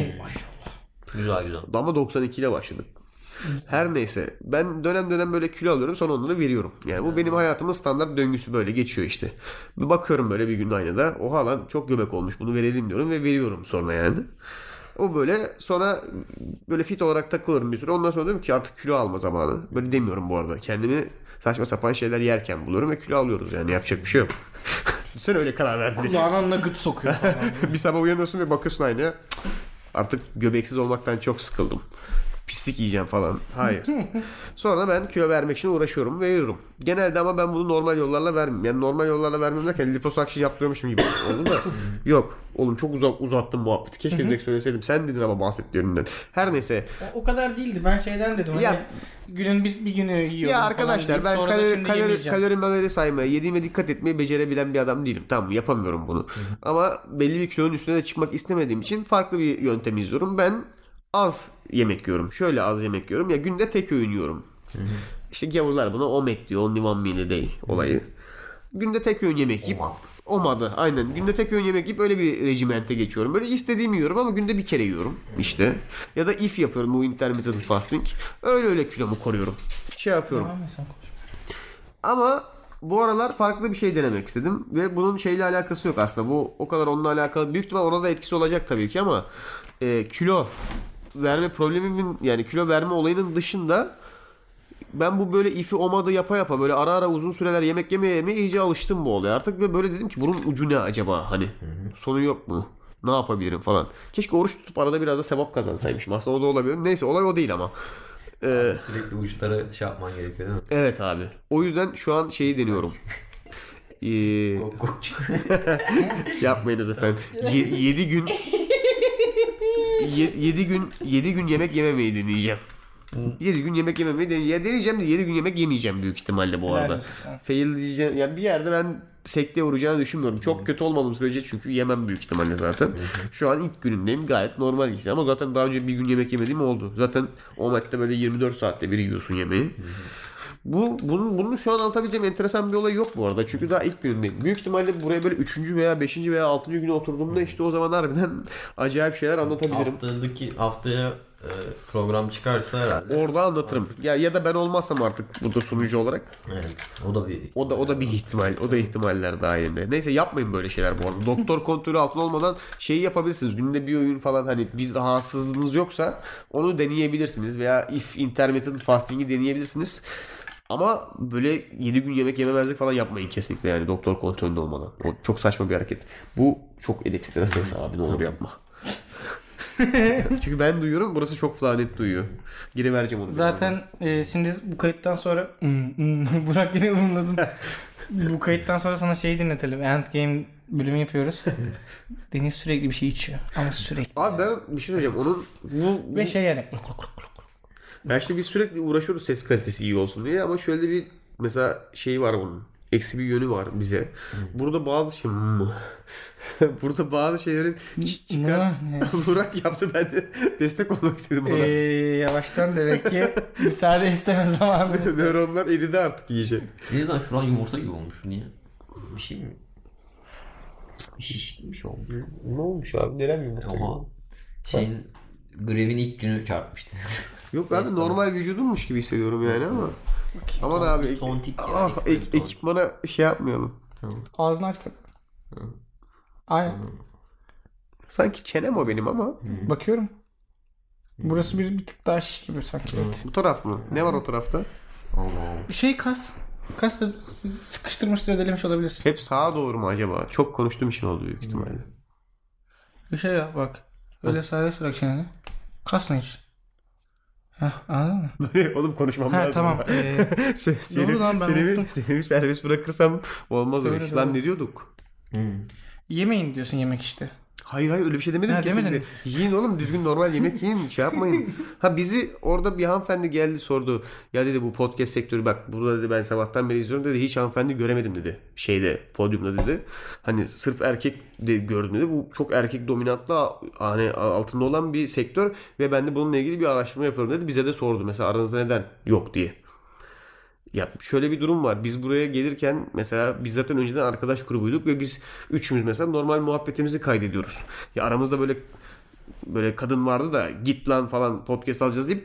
Speaker 1: Güzel güzel.
Speaker 4: Ama 92 ile başladık. Her neyse. Ben dönem dönem böyle kilo alıyorum sonra onları veriyorum. Yani bu benim hayatımın standart döngüsü böyle geçiyor işte. Bir bakıyorum böyle bir gün aynada. Oha lan çok göbek olmuş bunu verelim diyorum ve veriyorum sonra yani. O böyle sonra böyle fit olarak takılırım bir süre. Ondan sonra diyorum ki artık kilo alma zamanı. Böyle demiyorum bu arada. Kendimi saçma sapan şeyler yerken buluyorum ve kilo alıyoruz yani yapacak bir şey yok. Sen öyle karar verdin.
Speaker 3: Kulağına nugget sokuyor.
Speaker 4: bir sabah uyanıyorsun ve bakıyorsun aynaya. "Cık, Artık göbeksiz olmaktan çok sıkıldım. Pislik yiyeceğim falan. Hayır. Sonra ben kilo vermek için uğraşıyorum ve veriyorum. Genelde ama ben bunu normal yollarla vermem. Yani normal yollarla vermem derken liposakşın yaptırıyormuşum gibi oldu da. Yok. Oğlum çok uzak uzattım muhabbeti. Keşke direkt söyleseydim. Sen dedin ama bahsettiğimden. Her neyse.
Speaker 3: o kadar değildi. Ben şeyden dedim.
Speaker 4: Ya-
Speaker 3: hani günün biz bir günü yiyorum.
Speaker 4: Ya
Speaker 3: falan
Speaker 4: arkadaşlar
Speaker 3: deyip
Speaker 4: ben
Speaker 3: sonra da
Speaker 4: kalori,
Speaker 3: şimdi
Speaker 4: kalori,
Speaker 3: yemeyeceğim.
Speaker 4: kalori malori saymaya, yediğime dikkat etmeyi becerebilen bir adam değilim. Tamam yapamıyorum bunu. Ama belli bir kilonun üstüne de çıkmak istemediğim için farklı bir yöntem izliyorum. Ben az yemek yiyorum. Şöyle az yemek yiyorum. Ya günde tek öğün yiyorum. İşte gavurlar buna omet diyor. Only one meal a day olayı. Günde tek öğün yemek yiyip
Speaker 1: Omat.
Speaker 4: Omadı aynen. Günde tek öğün yemek yiyip öyle bir rejimente geçiyorum. Böyle istediğimi yiyorum ama günde bir kere yiyorum işte. Ya da if yapıyorum bu intermittent fasting. Öyle öyle kilomu koruyorum. Şey yapıyorum.
Speaker 3: Tamam, sen konuş.
Speaker 4: Ama bu aralar farklı bir şey denemek istedim ve bunun şeyle alakası yok aslında. Bu o kadar onunla alakalı. Büyük ihtimal ona da etkisi olacak tabii ki ama e, kilo verme problemimin yani kilo verme olayının dışında ben bu böyle ifi omadı yapa yapa böyle ara ara uzun süreler yemek yemeye yemeye iyice alıştım bu olaya artık ve böyle dedim ki bunun ucu ne acaba hani sonu yok mu? Ne yapabilirim falan. Keşke oruç tutup arada biraz da sevap kazansaymışım. Aslında o da olabilir. Neyse olay o değil ama. Ee,
Speaker 1: Sürekli uçlara şey yapman gerekiyor değil mi?
Speaker 4: Evet abi. O yüzden şu an şeyi deniyorum. Ee, yapmayınız efendim. 7 gün 7 gün 7 gün yemek yememeyi deneyeceğim. 7 gün yemek yememeyi dene- ya deneyeceğim de 7 gün yemek yemeyeceğim büyük ihtimalle bu arada.
Speaker 3: olsun.
Speaker 4: Fail diyeceğim. Yani bir yerde ben sekteye uğrayacağını düşünmüyorum. Çok kötü olmadığım sürece çünkü yemem büyük ihtimalle zaten. Şu an ilk günümdeyim. Gayet normal geçti ama zaten daha önce bir gün yemek yemediğim oldu. Zaten Omet'te böyle 24 saatte bir yiyorsun yemeği. Bu bunun, bunun şu an anlatabileceğim enteresan bir olay yok bu arada. Çünkü daha ilk günündeyim. Büyük ihtimalle buraya böyle 3. veya 5. veya 6. güne oturduğumda işte o zaman harbiden acayip şeyler anlatabilirim.
Speaker 5: Haftadaki haftaya e, program çıkarsa herhalde.
Speaker 4: Orada anlatırım. Ya ya da ben olmazsam artık burada sunucu olarak
Speaker 5: Evet. O da bir
Speaker 4: O da o da bir ihtimal. O da ihtimaller dahilinde. Neyse yapmayın böyle şeyler bu arada. Doktor kontrolü altında olmadan şeyi yapabilirsiniz. Günde bir oyun falan hani biz rahatsızlığınız yoksa onu deneyebilirsiniz veya if intermittent fasting'i deneyebilirsiniz. Ama böyle 7 gün yemek yememezlik falan yapmayın kesinlikle yani doktor kontrolünde olmadan. O çok saçma bir hareket. Bu çok elektrik stresi abi ne olur yapma. Çünkü ben duyuyorum burası çok flanet duyuyor. Geri vereceğim onu.
Speaker 3: Zaten e, şimdi bu kayıttan sonra Hmm, hmm, Burak yine ımladın. bu kayıttan sonra sana şeyi dinletelim. Endgame bölümü yapıyoruz. Deniz sürekli bir şey içiyor. Ama sürekli.
Speaker 4: Abi ben bir şey söyleyeceğim. Onun bu, bu
Speaker 3: Ve şey yani.
Speaker 4: Ya işte biz sürekli uğraşıyoruz ses kalitesi iyi olsun diye ama şöyle bir mesela şey var bunun. Eksi bir yönü var bize. Burada bazı şey Hmm. burada bazı şeylerin çı- çıkar
Speaker 3: Ne?
Speaker 4: Burak yaptı ben de destek olmak istedim ona.
Speaker 3: Ee, yavaştan demek ki müsaade isteme zamanı.
Speaker 4: Nöronlar eridi artık şey. iyice.
Speaker 5: Neden şu an yumurta gibi olmuş niye? Bir şey mi? Bir şiş gibi bir şey olmuş.
Speaker 4: Ne olmuş abi? Neren yumurta?
Speaker 5: Ama şeyin grevin ilk günü çarpmıştı.
Speaker 4: Yok abi normal vücudummuş gibi hissediyorum yani ama. Aman abi ek-
Speaker 5: Tontik ya,
Speaker 4: ah,
Speaker 5: ekstra
Speaker 4: ek-
Speaker 5: bir tontik.
Speaker 4: ekipmana şey yapmayalım.
Speaker 3: Ağzını aç kapat. Ay
Speaker 4: Sanki çenem o benim ama.
Speaker 3: bakıyorum. Burası bir, bir tık daha şiş gibi sanki.
Speaker 4: Bu taraf mı? Ne var o tarafta?
Speaker 5: Allah'ım.
Speaker 3: Şey kas. Kas da sıkıştırmış dedelemiş olabilirsin.
Speaker 4: Hep sağa doğru mu acaba? Çok konuştuğum için oldu büyük ihtimalle.
Speaker 3: Bir şey yap bak. Öyle serbest bırak çeneni. Kasma hiç. Heh, anladın mı?
Speaker 4: Oğlum konuşmam
Speaker 3: Ha
Speaker 4: lazım.
Speaker 3: tamam. Ee,
Speaker 4: Se- seni,
Speaker 3: Doğru lan, ben
Speaker 4: seni, bir,
Speaker 3: unuttum.
Speaker 4: seni bir servis bırakırsam olmaz öyle.
Speaker 3: Doğru,
Speaker 4: iş. Lan
Speaker 3: doğru.
Speaker 4: ne diyorduk?
Speaker 3: yemeyin diyorsun yemek işte.
Speaker 4: Hayır hayır öyle bir şey demedim
Speaker 3: Ha,
Speaker 4: kesinlikle.
Speaker 3: demedin.
Speaker 4: Yiyin oğlum düzgün normal yemek yiyin şey yapmayın. Ha bizi orada bir hanımefendi geldi sordu. Ya dedi bu podcast sektörü bak burada dedi ben sabahtan beri izliyorum dedi. Hiç hanımefendi göremedim dedi. Şeyde podyumda dedi. Hani sırf erkek de gördüm dedi. Bu çok erkek dominantla hani altında olan bir sektör. Ve ben de bununla ilgili bir araştırma yapıyorum dedi. Bize de sordu mesela aranızda neden yok diye. Ya şöyle bir durum var. Biz buraya gelirken mesela biz zaten önceden arkadaş grubuyduk ve biz üçümüz mesela normal muhabbetimizi kaydediyoruz. Ya aramızda böyle böyle kadın vardı da git lan falan podcast alacağız deyip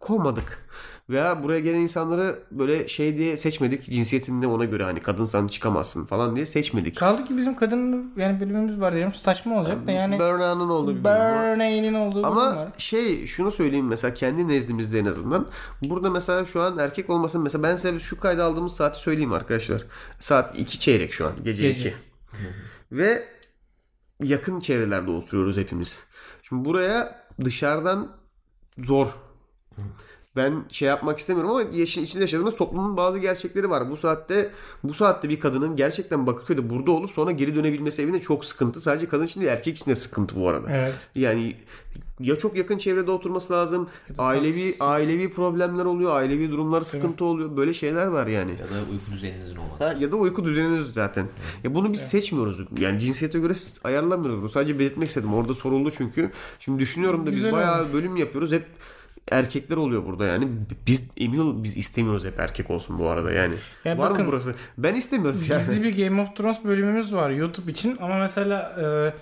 Speaker 4: kovmadık. Veya buraya gelen insanları böyle şey diye seçmedik. Cinsiyetinde ona göre hani kadınsan çıkamazsın falan diye seçmedik.
Speaker 3: Kaldı ki bizim kadın yani bölümümüz var diyelim. Saçma olacak da yani
Speaker 4: Burnou'nun olduğu bir bölüm var.
Speaker 3: Burney'nin olduğu bölüm
Speaker 4: Ama
Speaker 3: var.
Speaker 4: şey şunu söyleyeyim mesela kendi nezdimizde en azından. Burada mesela şu an erkek olmasın. Mesela ben size şu kayda aldığımız saati söyleyeyim arkadaşlar. Saat 2 çeyrek şu an. Gece,
Speaker 3: Gece.
Speaker 4: 2. Ve yakın çevrelerde oturuyoruz hepimiz. Şimdi buraya dışarıdan zor. Ben şey yapmak istemiyorum ama yeşil içinde yaşadığımız toplumun bazı gerçekleri var. Bu saatte bu saatte bir kadının gerçekten Bakırköy'de burada olup sonra geri dönebilmesi evine çok sıkıntı. Sadece kadın için değil erkek için de sıkıntı bu arada.
Speaker 3: Evet.
Speaker 4: Yani ya çok yakın çevrede oturması lazım. Ailevi ailevi problemler oluyor, ailevi durumlar sıkıntı oluyor. Böyle şeyler var yani.
Speaker 5: Ya da uyku düzeninizin olmadı.
Speaker 4: Ha, ya da uyku düzeniniz zaten. Ya bunu biz seçmiyoruz. Yani cinsiyete göre ayarlamıyoruz. Bunu sadece belirtmek istedim. Orada soruldu çünkü. Şimdi düşünüyorum da biz
Speaker 3: Güzel
Speaker 4: bayağı
Speaker 3: olmuş.
Speaker 4: bölüm yapıyoruz. Hep erkekler oluyor burada yani. Biz emin olun biz istemiyoruz hep erkek olsun bu arada yani.
Speaker 3: Ya
Speaker 4: var
Speaker 3: bakın,
Speaker 4: mı burası? Ben istemiyorum yani.
Speaker 3: Gizli bir Game of Thrones bölümümüz var YouTube için ama mesela e,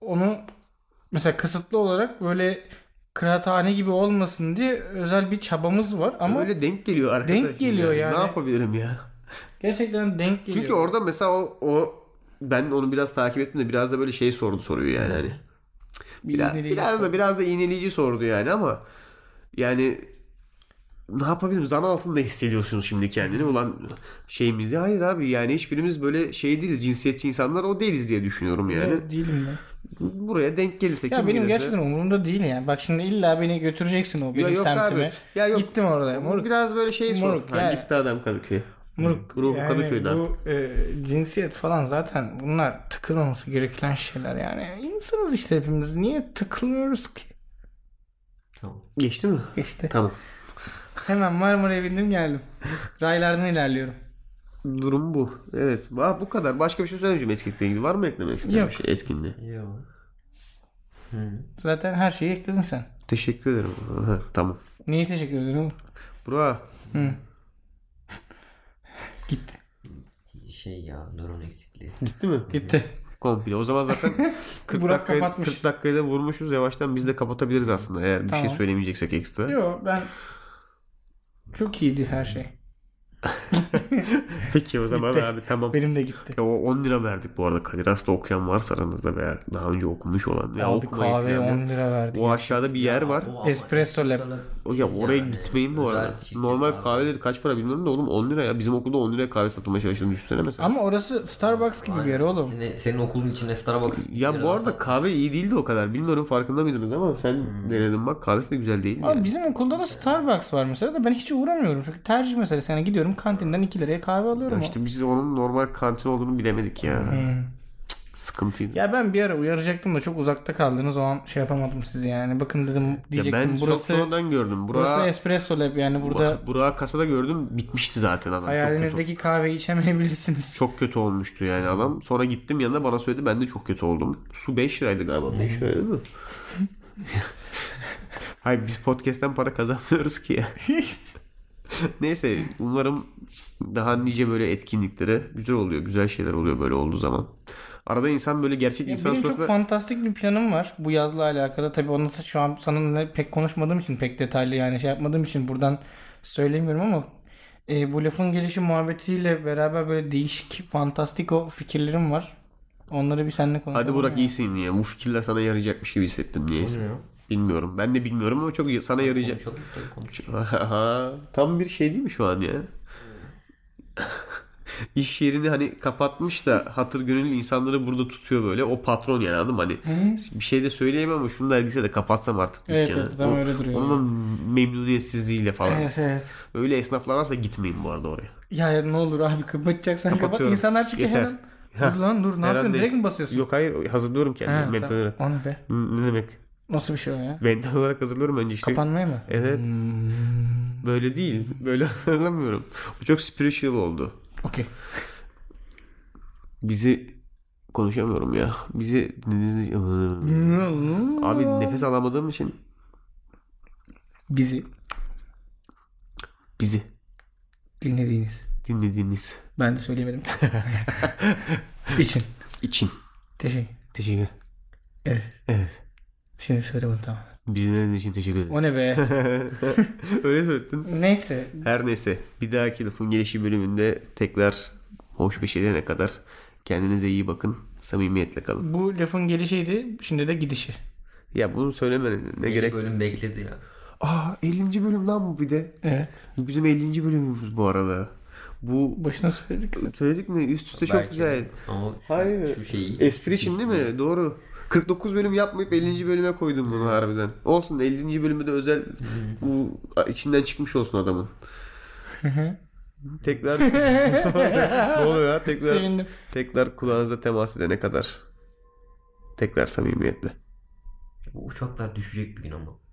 Speaker 3: onu mesela kısıtlı olarak böyle kıraathane gibi olmasın diye özel bir çabamız var ama
Speaker 4: Öyle denk geliyor arkadaşım.
Speaker 3: geliyor yani.
Speaker 4: Ne yapabilirim ya?
Speaker 3: gerçekten denk geliyor.
Speaker 4: Çünkü orada mesela o, o ben onu biraz takip ettim de biraz da böyle şey sordu soruyu yani hani. Biraz,
Speaker 3: İğneleyici
Speaker 4: biraz
Speaker 3: soru.
Speaker 4: da biraz da iğneleyici sordu yani ama yani ne yapabilirim? Zan altında hissediyorsunuz şimdi kendini. Ulan şeyimizde hayır abi yani hiçbirimiz böyle şey değiliz. Cinsiyetçi insanlar o değiliz diye düşünüyorum yani.
Speaker 3: Yok, değilim ben.
Speaker 4: Buraya denk gelirse
Speaker 3: Ya
Speaker 4: kim
Speaker 3: benim
Speaker 4: bilirse-
Speaker 3: gerçekten umurumda değil yani. Bak şimdi illa beni götüreceksin o benim
Speaker 4: Ya yok
Speaker 3: semtime.
Speaker 4: abi. Ya yok.
Speaker 3: Gittim orada. Moruk.
Speaker 4: Biraz böyle şey sor.
Speaker 3: Moruk,
Speaker 4: Ha,
Speaker 3: yani.
Speaker 4: Gitti adam Kadıköy.
Speaker 3: Moruk.
Speaker 4: Ruhu Kadıköy'de artık.
Speaker 3: bu e, cinsiyet falan zaten bunlar tıkılmaması gereken şeyler yani. İnsanız işte hepimiz. Niye tıkılmıyoruz ki?
Speaker 5: Tamam.
Speaker 4: Geçti mi?
Speaker 3: Geçti.
Speaker 4: Tamam.
Speaker 3: Hemen Marmara'ya bindim geldim. Raylardan ilerliyorum.
Speaker 4: Durum bu. Evet. Ah, bu kadar. Başka bir şey söylemeyeceğim etkinlikle ilgili. Var mı eklemek istediğin
Speaker 3: Yok.
Speaker 4: bir şey etkinliğe?
Speaker 5: Yo.
Speaker 3: Zaten her şeyi ekledin sen.
Speaker 4: Teşekkür ederim. Aha, tamam.
Speaker 3: Niye teşekkür ederim? oğlum?
Speaker 4: Bura.
Speaker 3: Gitti.
Speaker 5: Şey ya nöron eksikliği.
Speaker 4: Gitti mi?
Speaker 3: Gitti.
Speaker 4: Komple. O zaman zaten 40
Speaker 3: Burak
Speaker 4: dakikayı,
Speaker 3: kapatmış.
Speaker 4: 40 dakikayı da vurmuşuz. Yavaştan biz de kapatabiliriz aslında eğer bir şey
Speaker 3: Tamam.
Speaker 4: söylemeyeceksek ekstra.
Speaker 3: Yok ben çok iyiydi her şey.
Speaker 4: Peki o zaman
Speaker 3: Bitti.
Speaker 4: abi tamam.
Speaker 3: Benim de gitti.
Speaker 4: Ya o 10 lira verdik bu arada Kadir Has'ta okuyan varsa aranızda veya daha önce okumuş olan veya
Speaker 3: Abi
Speaker 4: okumayı
Speaker 3: kahveye
Speaker 4: planlayan.
Speaker 3: 10 lira verdik.
Speaker 4: O aşağıda bir yer var.
Speaker 5: O ama
Speaker 3: Espresso lab.
Speaker 5: ekstra-
Speaker 4: O ya oraya
Speaker 5: Yani
Speaker 4: gitmeyin bu
Speaker 5: özel
Speaker 4: arada.
Speaker 5: şirket
Speaker 4: Normal
Speaker 5: abi.
Speaker 4: kahveleri kaç para bilmiyorum da oğlum 10 lira ya. Bizim okulda 10 liraya kahve satılmaya çalıştığını düşünsene mesela.
Speaker 3: Ama orası Starbucks gibi bir yer oğlum.
Speaker 5: Senin, senin okulun içinde Starbucks.
Speaker 4: ya bu arada kahve iyi değildi o kadar. Bilmiyorum farkında mıydınız ama sen denedin bak kahvesi de güzel değil mi?
Speaker 3: Hmm. Abi bizim okulda da Starbucks var mesela da ben hiç uğramıyorum. Çünkü tercih meselesi. Yani gidiyorum kantinden 2 liraya kahve alıyorum.
Speaker 4: Ya
Speaker 3: Ya,
Speaker 4: işte biz onun normal kantin olduğunu bilemedik ya. Cık, Sıkıntıydı. Ya,
Speaker 3: Hmm. ya ben bir ara uyaracaktım da çok uzakta kaldınız. O an şey yapamadım sizi yani. Bakın dedim diyecektim.
Speaker 4: ben çok
Speaker 3: burası,
Speaker 4: sonradan gördüm.
Speaker 3: burası
Speaker 4: Burak,
Speaker 3: Espresso Lab yani burada
Speaker 4: Burak, kasada gördüm bitmişti zaten adam. Çok kötü,
Speaker 3: hayalinizdeki kahveyi içemeyebilirsiniz.
Speaker 4: çok kötü olmuştu yani
Speaker 3: Hmm.
Speaker 4: adam. Sonra gittim yanına bana söyledi ben de çok kötü oldum. Su 5 liraydı
Speaker 3: Hmm.
Speaker 4: galiba. 5 liraydı değil mi? Hayır biz podcast'ten para kazanmıyoruz ki ya. Neyse umarım daha nice böyle etkinliklere güzel oluyor. Güzel şeyler oluyor böyle olduğu zaman. Arada insan böyle gerçek
Speaker 3: Ya
Speaker 4: insan
Speaker 3: benim çok
Speaker 4: sofrasına-
Speaker 3: fantastik bir planım var bu yazla alakalı. Tabii onu şu an seninle pek konuşmadığım için pek detaylı yani şey yapmadığım için buradan söylemiyorum ama e, bu lafın gelişi muhabbetiyle beraber böyle değişik fantastik o fikirlerim var. Onları bir seninle konuşalım.
Speaker 4: Hadi Burak
Speaker 3: ya.
Speaker 4: iyisin ya. Bu fikirler sana yarayacakmış gibi hissettim niyeyse.
Speaker 5: ya?
Speaker 4: Bilmiyorum. Ben de bilmiyorum ama çok sana yarayacak.
Speaker 5: Çok çok konuş.
Speaker 4: Aha, Tam bir şey değil mi şu an ya? İş yerini hani kapatmış da hatır gönül insanları burada tutuyor böyle. O patron yani anladın mı? Hani bir şey de söyleyemem ama şunu dergise de kapatsam artık
Speaker 3: Evet,
Speaker 4: dükkanı.
Speaker 3: evet, tam
Speaker 4: O-
Speaker 3: öyle duruyor.
Speaker 4: Onun memnuniyetsizliğiyle falan.
Speaker 3: Evet evet.
Speaker 4: Öyle esnaflar varsa gitmeyin bu arada oraya.
Speaker 3: Ya ne olur abi kapatacaksan kapat.
Speaker 4: Kapatıyorum.
Speaker 3: İnsanlar çünkü
Speaker 4: Yeter.
Speaker 3: hemen dur lan dur ne
Speaker 4: Her an
Speaker 3: yapıyorsun
Speaker 4: değil.
Speaker 3: direkt mi basıyorsun?
Speaker 4: Yok hayır hazırlıyorum
Speaker 3: Ha,
Speaker 4: kendimi mental
Speaker 3: tamam.
Speaker 4: olarak.
Speaker 3: Onu be.
Speaker 4: Hı, Ne demek?
Speaker 3: Nasıl bir şey o ya?
Speaker 4: Mental olarak hazırlıyorum önce işte.
Speaker 3: Kapanmaya mı?
Speaker 4: Evet.
Speaker 3: Hmm.
Speaker 4: Böyle değil. Böyle hatırlamıyorum. O çok spiritual oldu.
Speaker 3: Okey.
Speaker 4: Bizi konuşamıyorum ya. Bizi dinlediğiniz için- Abi nefes alamadığım için
Speaker 3: Bizi
Speaker 4: bizi
Speaker 3: dinlediğiniz.
Speaker 4: dinlediğiniz
Speaker 3: Ben de söyleyemedim. İçin.
Speaker 4: için
Speaker 3: Teşekkür.
Speaker 4: teşekkür.
Speaker 3: Evet.
Speaker 4: Evet.
Speaker 3: Şimdi söyle bunu tamam.
Speaker 4: Bizi dinlediğiniz için teşekkür ederiz.
Speaker 3: O ne be?
Speaker 4: Öyle söyledin.
Speaker 3: Neyse.
Speaker 4: Her neyse. Bir dahaki lafın gelişi bölümünde tekrar hoş bir şey diyene kadar kendinize iyi bakın. Samimiyetle kalın.
Speaker 3: Bu lafın gelişiydi. Şimdi de gidişi.
Speaker 4: Ya bunu söylemenin ne gerek?
Speaker 5: bölüm bekledi ya.
Speaker 4: Aa 50. bölüm lan bu bir de.
Speaker 3: Evet.
Speaker 4: Bu bizim 50. bölümümüz bu arada. Bu
Speaker 3: Başına söyledik.
Speaker 4: söyledik mi? Üst üste
Speaker 5: Belki
Speaker 4: çok güzel.
Speaker 5: de. Ama şu,
Speaker 4: Hayır.
Speaker 5: şu şeyi.
Speaker 4: Espri için değil mi? Doğru. 49 bölüm yapmayıp 50. bölüme koydum bunu harbiden. Olsun 50. bölümü de özel bu içinden çıkmış olsun adamın. tekrar ne oluyor ya? Tekrar
Speaker 3: Sevindim.
Speaker 4: tekrar kulağınıza temas edene kadar. Tekrar samimiyetle.
Speaker 5: Bu uçaklar düşecek bir gün ama.